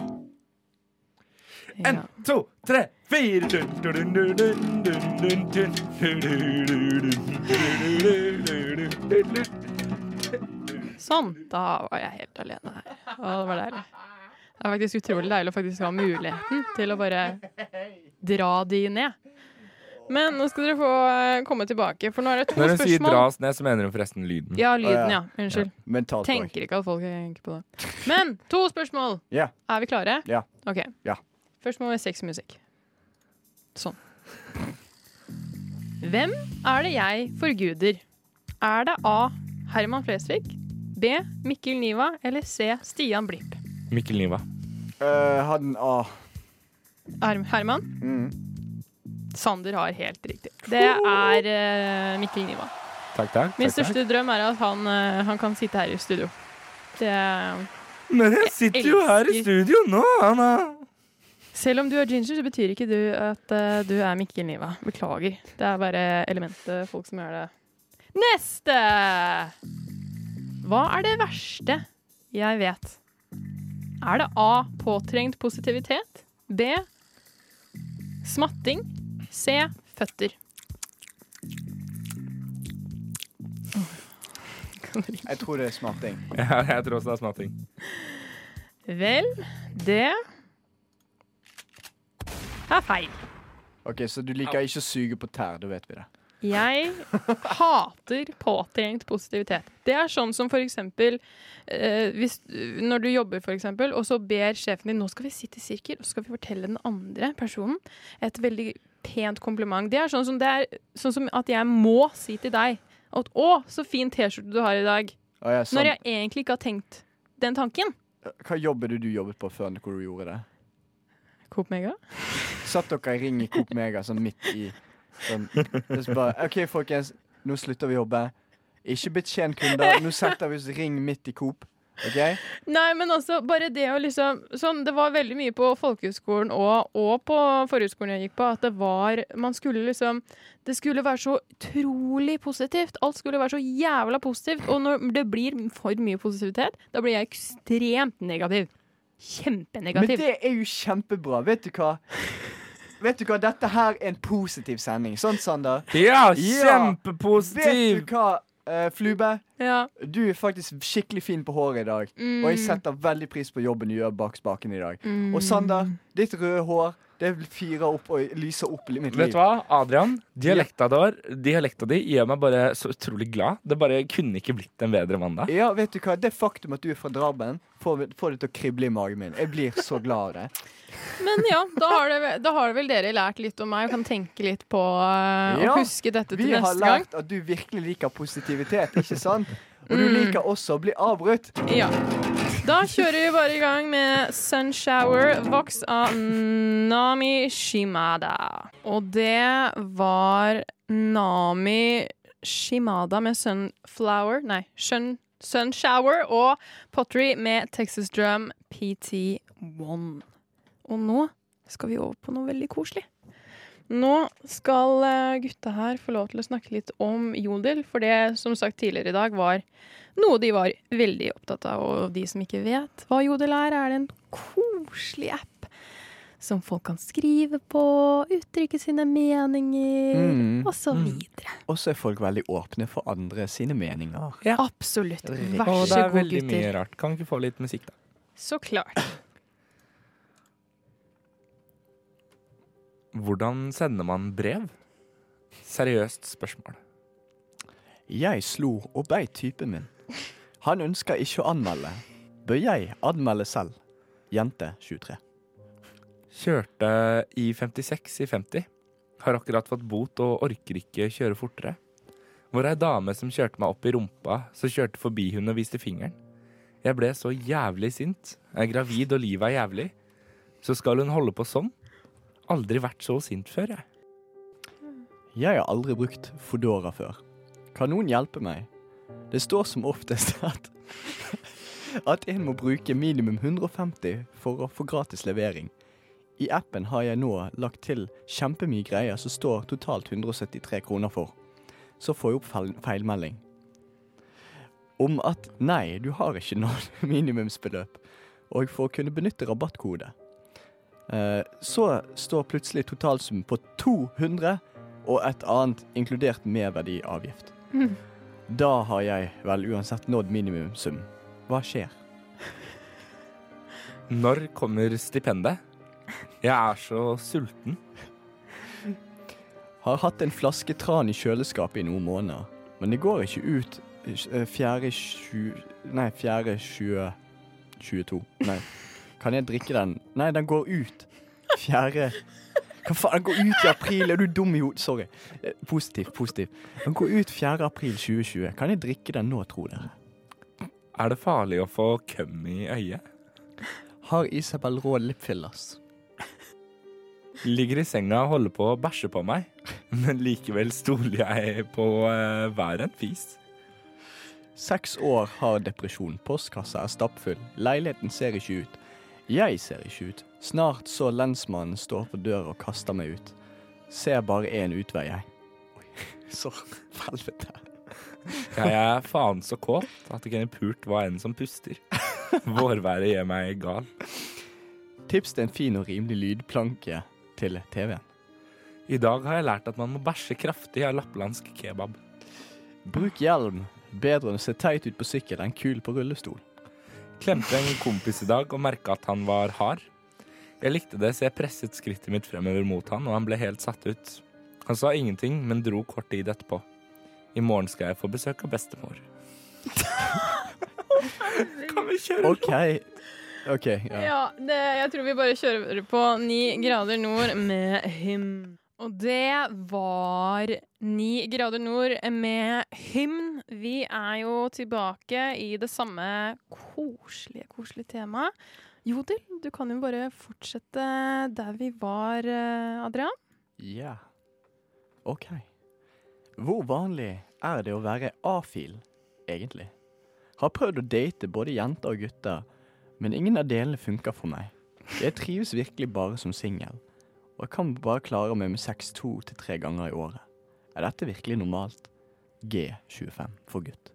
S1: En,
S5: Ja.
S1: to, tre, fire dun, dun, dun, dun, dun, dun, dun, dun, dun, dun, dun, dun, dun, dun, dun.
S5: Sånn. Da var jeg helt alene her. Å, det var deilig. Det er faktisk utrolig deilig å faktisk ha muligheten til å bare dra de ned. Men nå skal dere få eh, komme tilbake, for nå er det to
S1: Når hun sier
S5: spørsmål.
S1: 'dra oss ned', så mener hun forresten lyden.
S5: Ja, lyden,
S6: ja.
S5: ja. Unnskyld.
S6: Mentalt poeng.
S5: Tenker ikke at folk tenker på det. Men to spørsmål.
S6: Ja.
S5: Er vi klare?
S6: Ja.
S5: Ok.
S6: Ja.
S5: Først må vi seks musikk. Sånn. Hvem er det jeg forguder? Er det A. Herman Flesvig? B. Mikkel Niva? Eller C. Stian Blipp?
S1: Mikkel Niva.
S6: Eh, hadde en A.
S5: Her Herman?
S6: Mm.
S5: Sander har helt riktig. Det er eh, Mikkel Niva.
S1: Takk, takk.
S5: Min
S1: takk, takk.
S5: største drøm er at han, eh, han kan sitte her i studio. Det
S1: Men jeg
S5: sitter jo her i elsker-
S1: studio nå, Anna.
S5: Selv om du er ginger, så betyr ikke du at eh, du er Mikkel Niva. Beklager. Det er bare elementet folk som gjør det. Neste! Hva er det verste jeg vet? Er det A. Påtrengt positivitet? B. Smatting? C. Føtter?
S6: Jeg tror det er smarting.
S1: Ja, jeg tror også det er smatting.
S5: Vel, det er feil.
S6: Ok, Så du liker ikke å suge på tær, da vet vi det.
S5: Jeg hater påtrengt positivitet. Det er sånn som for eksempel eh, hvis, når du jobber, for eksempel, og så ber sjefen din nå skal vi sitte i sirkel og så skal vi fortelle den andre personen et veldig pent kompliment. Det er sånn som, det er, sånn som at jeg må si til deg at 'Å, så fin T-skjorte du har i dag',
S6: Å, ja, sant.
S5: når jeg egentlig ikke har tenkt den tanken.
S6: Hva jobb er det du jobbet på før hvor du gjorde det?
S5: Coop Mega.
S6: Satt dere i ring i Coop Mega sånn midt i sånn, og så bare, OK, folkens, nå slutter vi å jobbe. Ikke betjen kunder. Nå setter vi oss i ring midt i Coop. OK?
S5: Nei, men altså, bare det å liksom sånn, Det var veldig mye på folkehøgskolen og, og på forhøgskolen jeg gikk på, at det var Man skulle liksom Det skulle være så utrolig positivt. Alt skulle være så jævla positivt. Og når det blir for mye positivitet, da blir jeg ekstremt negativ.
S6: Men
S5: Kjempenegativ.
S6: det er jo kjempebra. Vet du hva? Vet du hva? Dette her er en positiv sending. Sånn, Sander.
S1: Ja,
S6: Ja. Vet
S1: kjempepositiv!
S6: du hva, eh, Flube?
S5: Ja.
S6: Du er faktisk skikkelig fin på håret i dag. Og jeg setter veldig pris på jobben du gjør bak spaken i dag. Og Sander, ditt røde hår, det fyrer opp og lyser opp i mitt
S1: Vet
S6: liv.
S1: du hva, Adrian? Dialekta, der, dialekta di gjør meg bare så utrolig glad. Det bare kunne ikke blitt en bedre mandag.
S6: Ja, vet du hva? Det faktum at du er fra Draben, får, får det til å krible i magen min. Jeg blir så glad av det.
S5: Men ja, da har, det, vel- da har vel dere lært litt om meg og kan tenke litt på eh,
S6: Ja,
S5: å huske dette til
S6: Vi har
S5: neste gang.
S6: lært at du virkelig liker positivitet, ikke sant? Og
S5: Mm.
S6: du liker også å bli avbrutt.
S5: Ja. Da kjører vi bare i gang med Sunshower Vox av Nami Shimada. Og det var Nami Shimada med Sunflower Nei, sun, Sunshower og Pottery med Texas Drum PT1. Og nå skal vi over på noe veldig koselig. Nå skal eh, gutta her få lov til å snakke litt om jodel, for det som sagt tidligere i dag var noe de var veldig opptatt av, og de som ikke vet hva Jodel er, er det en koselig app som folk kan skrive på, uttrykke sine meninger,
S6: Mm.
S5: og så videre.
S6: Og så er folk veldig åpne for andre sine meninger.
S5: Absolutt. Vær
S1: Og det
S5: så
S1: er
S5: god,
S1: veldig
S5: gutter.
S1: mye rart. Kan vi ikke få litt musikk, da?
S5: Så klart.
S1: Hvordan sender man brev? Seriøst spørsmål.
S6: Jeg slo og beit typen min. Han ønsker ikke å anmelde. Bør jeg anmelde selv? Jente 23.
S1: Kjørte i 56 i 50. Har akkurat fått bot og orker ikke kjøre fortere. Hvor ei dame som kjørte meg opp i rumpa, så kjørte forbi hun og viste fingeren. Jeg ble så jævlig sint. Jeg er gravid og livet er jævlig. Så skal hun holde på sånn? Aldri vært så sint før, jeg.
S6: Jeg har aldri brukt Foodora før. Kan noen hjelpe meg? Det står som oftest at at en må bruke minimum 150 for å få gratis levering. I appen har jeg nå lagt til kjempemye greier som står totalt 173 kroner for. Så får jeg opp feil feilmelding. Om at nei, du har ikke noe minimumsbeløp. Og for å kunne benytte rabattkode. Eh, Så står plutselig totalsum på 200 og et annet, inkludert merverdiavgift. Da har jeg vel uansett nådd minimumssum. Hva skjer?
S1: Når kommer stipendet? Jeg er så sulten.
S6: Har hatt en flaske tran i kjøleskapet i noen måneder, men det går ikke ut eh, fjerde tju... Nei, fjerde tjue... 22. Nei. Kan jeg drikke den? Nei, den går ut. Fjerde Hva faen? Den går ut i april. Er du dum i hodet? Sorry. Eh, Positiv, positiv. Den går ut 4. april 2020. Kan jeg drikke den nå, tror dere?
S1: Er det farlig å få køm i øyet?
S6: Har Isabel råd lipfillers?
S1: Ligger i senga og holder på å bæsje på meg, men likevel stoler jeg på eh, hver en fis.
S6: Seks år har depresjon, postkassa er stappfull, leiligheten ser ikke ut. Jeg ser ikke ut. Snart så lensmannen står på døra og kaster meg ut. Ser bare én utvei, jeg. Oi, så helvete.
S1: Jeg er faen så kåt at jeg kunne pult hva enn som puster. Vårværet gjør meg gal.
S6: Tips til en fin og rimelig lydplanke til TV-en.
S1: I dag har jeg lært at man må bæsje kraftig av lapplandsk kebab.
S6: Bruk hjelm. Bedre enn å se teit ut på sykkel enn kul på rullestol.
S1: Klemte en kompis i dag og merka at han var hard. Jeg likte det, så jeg presset skrittet mitt fremover mot han, og han ble helt satt ut. Han sa ingenting, men dro kort tid etterpå. I morgen skal jeg få besøk av bestemor. kan vi kjøre?
S6: OK. OK. Ja.
S5: Ja, det, jeg tror vi bare kjører på Ni grader nord med hymn. Og det var Ni grader nord med hymn. Vi er jo tilbake i det samme koselige, koselige temaet. Jodel, du kan jo bare fortsette der vi var, eh, Adrian.
S6: ja. OK. Hvor vanlig er det å være A-fil, egentlig? Har prøvd å date både jenter og gutter, men ingen av delene funker for meg. Jeg trives virkelig bare som singel, og jeg kan bare klare meg med sex to til tre ganger i året. Er dette virkelig normalt? G25 for gutt.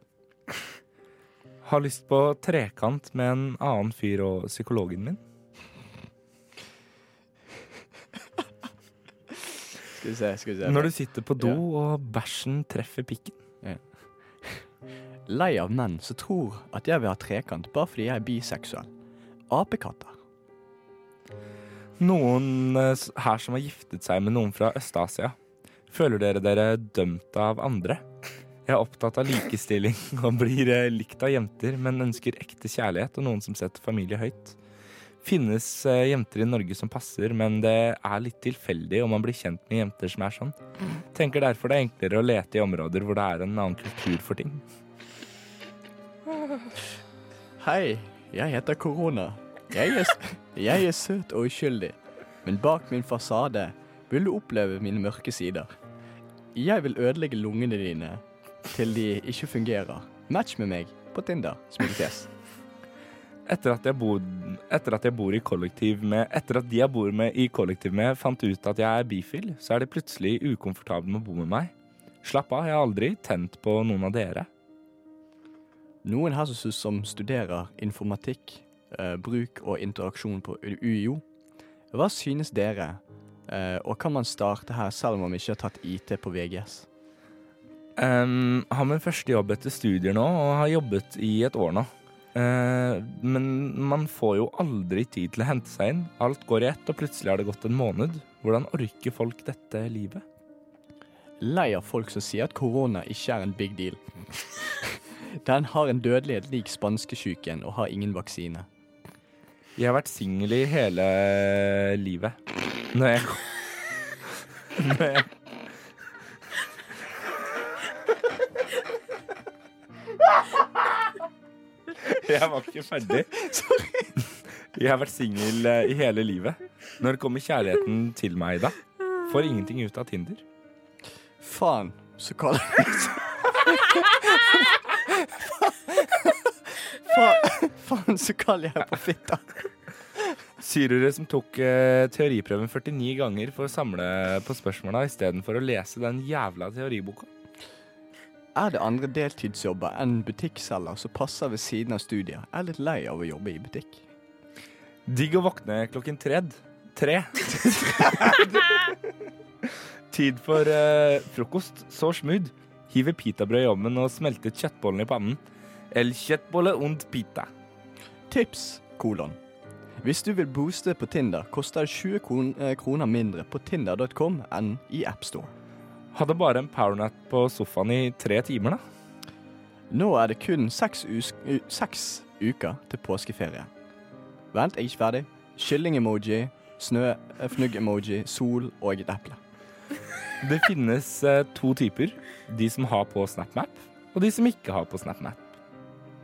S1: Har lyst på trekant med en annen fyr og psykologen min.
S6: Skal vi se, skal vi se.
S1: Når du sitter på do og bæsjen treffer pikken.
S6: Lei av menn som tror at jeg vil ha trekant bare fordi jeg er biseksuell. Apekatter.
S1: Noen eh, s- her som har giftet seg med noen fra Øst-Asia. Føler dere dere dømt av andre? Jeg er opptatt av likestilling og blir eh, likt av jenter, men ønsker ekte kjærlighet og noen som setter familie høyt. Finnes eh, jenter i Norge som passer, men det er litt tilfeldig om man blir kjent med jenter som er sånn. Tenker derfor det er enklere å lete i områder hvor det er en annen kultur for ting.
S6: Hei, jeg heter Korona. Jeg er, jeg er søt og uskyldig, men bak min fasade vil du oppleve mine mørke sider. Jeg vil ødelegge lungene dine til de ikke fungerer. Match med meg på Tinder. Smilefjes.
S1: Etter at, jeg bor, etter at jeg bor i kollektiv med Etter at de jeg bor med i kollektiv med, fant ut at jeg er bifil, så er de plutselig ukomfortable med å bo med meg. Slapp av, jeg har aldri tent på noen av dere.
S6: Noen her som, som studerer informatikk, eh, bruk og interaksjon på UiO. Hva synes dere, eh, og kan man starte her selv om man ikke har tatt IT på VGS?
S1: Ehm, har min første jobb etter studier nå, og har jobbet i et år nå. Ehm, men man får jo aldri tid til å hente seg inn. Alt går i ett, og plutselig har det gått en måned. Hvordan orker folk dette livet?
S6: lei av folk som sier at korona ikke er en big deal. Den har en dødelighet lik spanskesjuken og har ingen vaksine.
S1: Jeg har vært singel i hele livet. Når jeg Når jeg Jeg var ikke ferdig. Jeg har vært singel eh, i hele livet. Når kommer kjærligheten til meg da? Får ingenting ut av Tinder.
S6: Faen, så kaller Faen, faen, så kaller jeg på fitta.
S1: Syrere som tok eh, teoriprøven 49 ganger for å samle på spørsmåla istedenfor å lese den jævla teoriboka.
S6: Er det andre deltidsjobber enn butikkselger som passer ved siden av studier? Jeg er litt lei av å jobbe i butikk.
S1: Digg å våkne klokken tred. Tre. Tid for eh, frokost. Så smooth. Hiver pitabrød i ovnen og smelter kjøttbollene i pannen. El kjøttbolle und pita.
S6: Tips, kolon. Hvis du vil booste på Tinder, koster det 20 kron- eh, kroner mindre på tinder.com enn i AppStore.
S1: Hadde bare en powernap på sofaen i tre timer, da.
S6: Nå er det kun seks, us u seks uker til påskeferie. Vent, jeg er ikke ferdig. Kylling-emoji, snøfnugg-emoji, sol og et eple.
S1: Det finnes eh, to typer. De som har på SnapMap, og de som ikke har på SnapMap.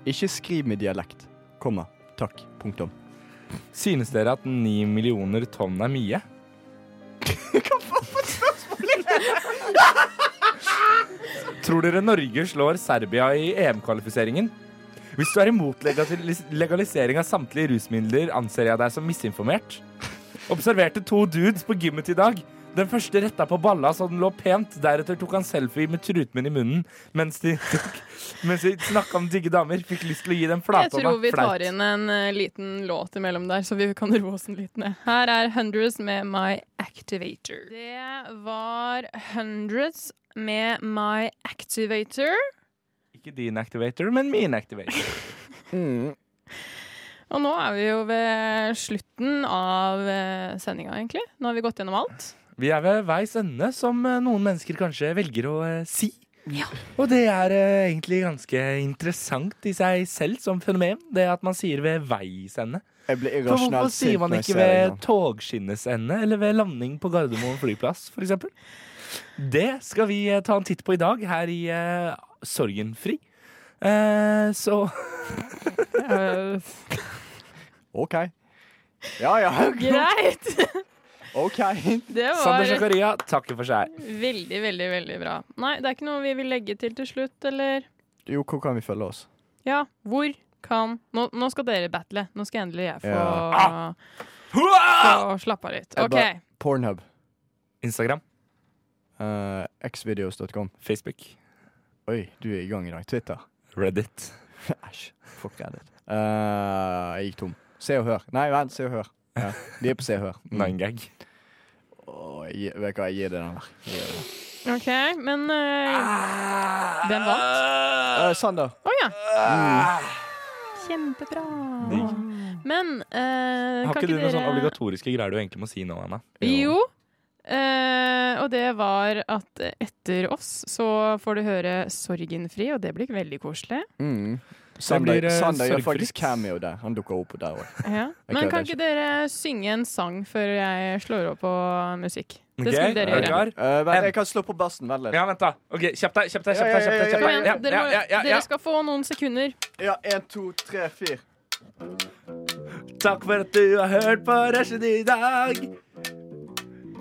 S6: Ikke skriv med dialekt. Komma. Takk. Punktum.
S1: Synes dere at ni millioner tonn er mye? Hva faen for spørsmål Tror dere Norge slår Serbia i EM-kvalifiseringen? Hvis du er imot legalis- legalisering av samtlige rusmidler, anser jeg deg som misinformert. Observerte to dudes på gymmet i dag. Den første retta på balla så den lå pent. Deretter tok han selfie med trutmunn i munnen mens de, mens de snakka om digge damer. Fikk lyst til å gi dem
S5: Jeg
S1: flatånda.
S5: tror vi tar
S1: Flaut.
S5: inn en eh, liten låt imellom der, så vi kan roe oss litt ned. Her er Hundreds med My Activator. Det var Hundreds med My Activator.
S1: Ikke din activator, men min activator.
S5: Og nå er vi jo ved slutten av eh, sendinga, egentlig. Nå har vi gått gjennom alt.
S1: Vi er ved veis ende, som eh, noen mennesker kanskje velger å eh, si. Og det er eh, egentlig ganske interessant i seg selv som fenomen, det at man sier ved veis ende.
S6: Jeg ble
S1: For hvorfor
S6: irrasjonelt
S1: sier
S6: sint
S1: man
S6: når jeg
S1: ikke
S6: ser deg
S1: ved
S6: nå.
S1: togskinnets ende eller ved landing på Gardermoen flyplass, f.eks.? Det skal vi eh, ta en titt på i dag her i eh, Sorgenfri. Eh, så
S6: OK. Ja ja,
S5: Greit!
S6: OK.
S5: Det
S1: Sander
S5: var
S1: Zakaria takker for seg.
S5: veldig, veldig veldig bra. Nei, det er ikke noe vi vil legge til til slutt, eller?
S6: Jo, hvor kan vi følge oss?
S5: Ja, hvor kan Nå, nå skal dere battle. Nå skal endelig jeg få,
S1: Ja. Ah!
S5: få slappe av litt.
S6: Jeg
S5: OK.
S6: bare- Pornhub.
S1: Instagram,
S6: eh, Xvideos.com.
S1: Facebook,
S6: Oi, du er i gang i dag. Twitter.
S1: Reddit.
S6: Æsj. Fuck Reddit. Eh, jeg gikk tom. Se og Hør. Nei, vent, Se og Hør. Ja, de er på Se og Hør. Mm.
S1: Ninegag.
S6: Åh, jeg gir- vet du hva, jeg gir det den der. Jeg gir det den.
S5: ok, Men eh, Hvem vant?
S6: Eh, Sander.
S5: Å ja. Kjempebra. Men eh,
S1: Har
S5: kan
S1: ikke du noen sånn
S5: dere
S1: obligatoriske greier du egentlig må si nå, Anna?
S5: Jo. Eh, og det var at etter oss så får du høre Sorgenfri, og det blir veldig koselig.
S6: Mm. Sander,
S1: blir, eh,
S6: Sander gjør
S1: sorgfritt.
S6: faktisk cameo der. Han dukker opp der òg.
S5: Ja.
S6: Jeg
S5: Men kan
S6: klarer det
S5: ikke dere synge en sang før jeg slår opp på musikk? Det
S1: Ok,
S5: skulle
S1: er
S5: dere
S1: du
S5: gjøre.
S1: klar?
S6: Eh, vent, jeg kan slå på bassen. Vent litt.
S1: Ja, vent, da. Ok, Kjapp deg, kjapp deg. kjapp
S6: Ja, ja,
S1: deg, kjapp
S6: ja,
S1: deg,
S5: Kom
S1: kjapp
S5: igjen,
S1: deg. Ja,
S5: dere, må,
S1: ja, ja, ja.
S5: dere skal få noen sekunder.
S6: Ja, én, to, tre, fire.
S1: Takk for at du har hørt på Rushet i dag.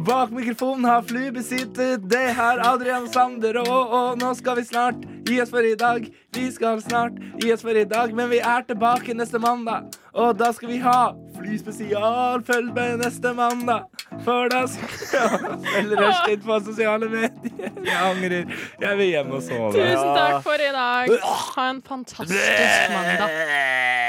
S1: Bak mikrofonen har Fly besittet, det har Adrian Sander og, og nå skal vi snart gi oss for i dag. Vi skal snart gi oss for i dag, men vi er tilbake neste mandag. Og da skal vi ha Flyspesial. Følg med neste mandag, for da skal Eller Rushtid på sosiale medier. Jeg angrer. Jeg vil hjem og sove.
S5: Tusen takk for i dag. Ha en fantastisk mandag.
S1: Yeah.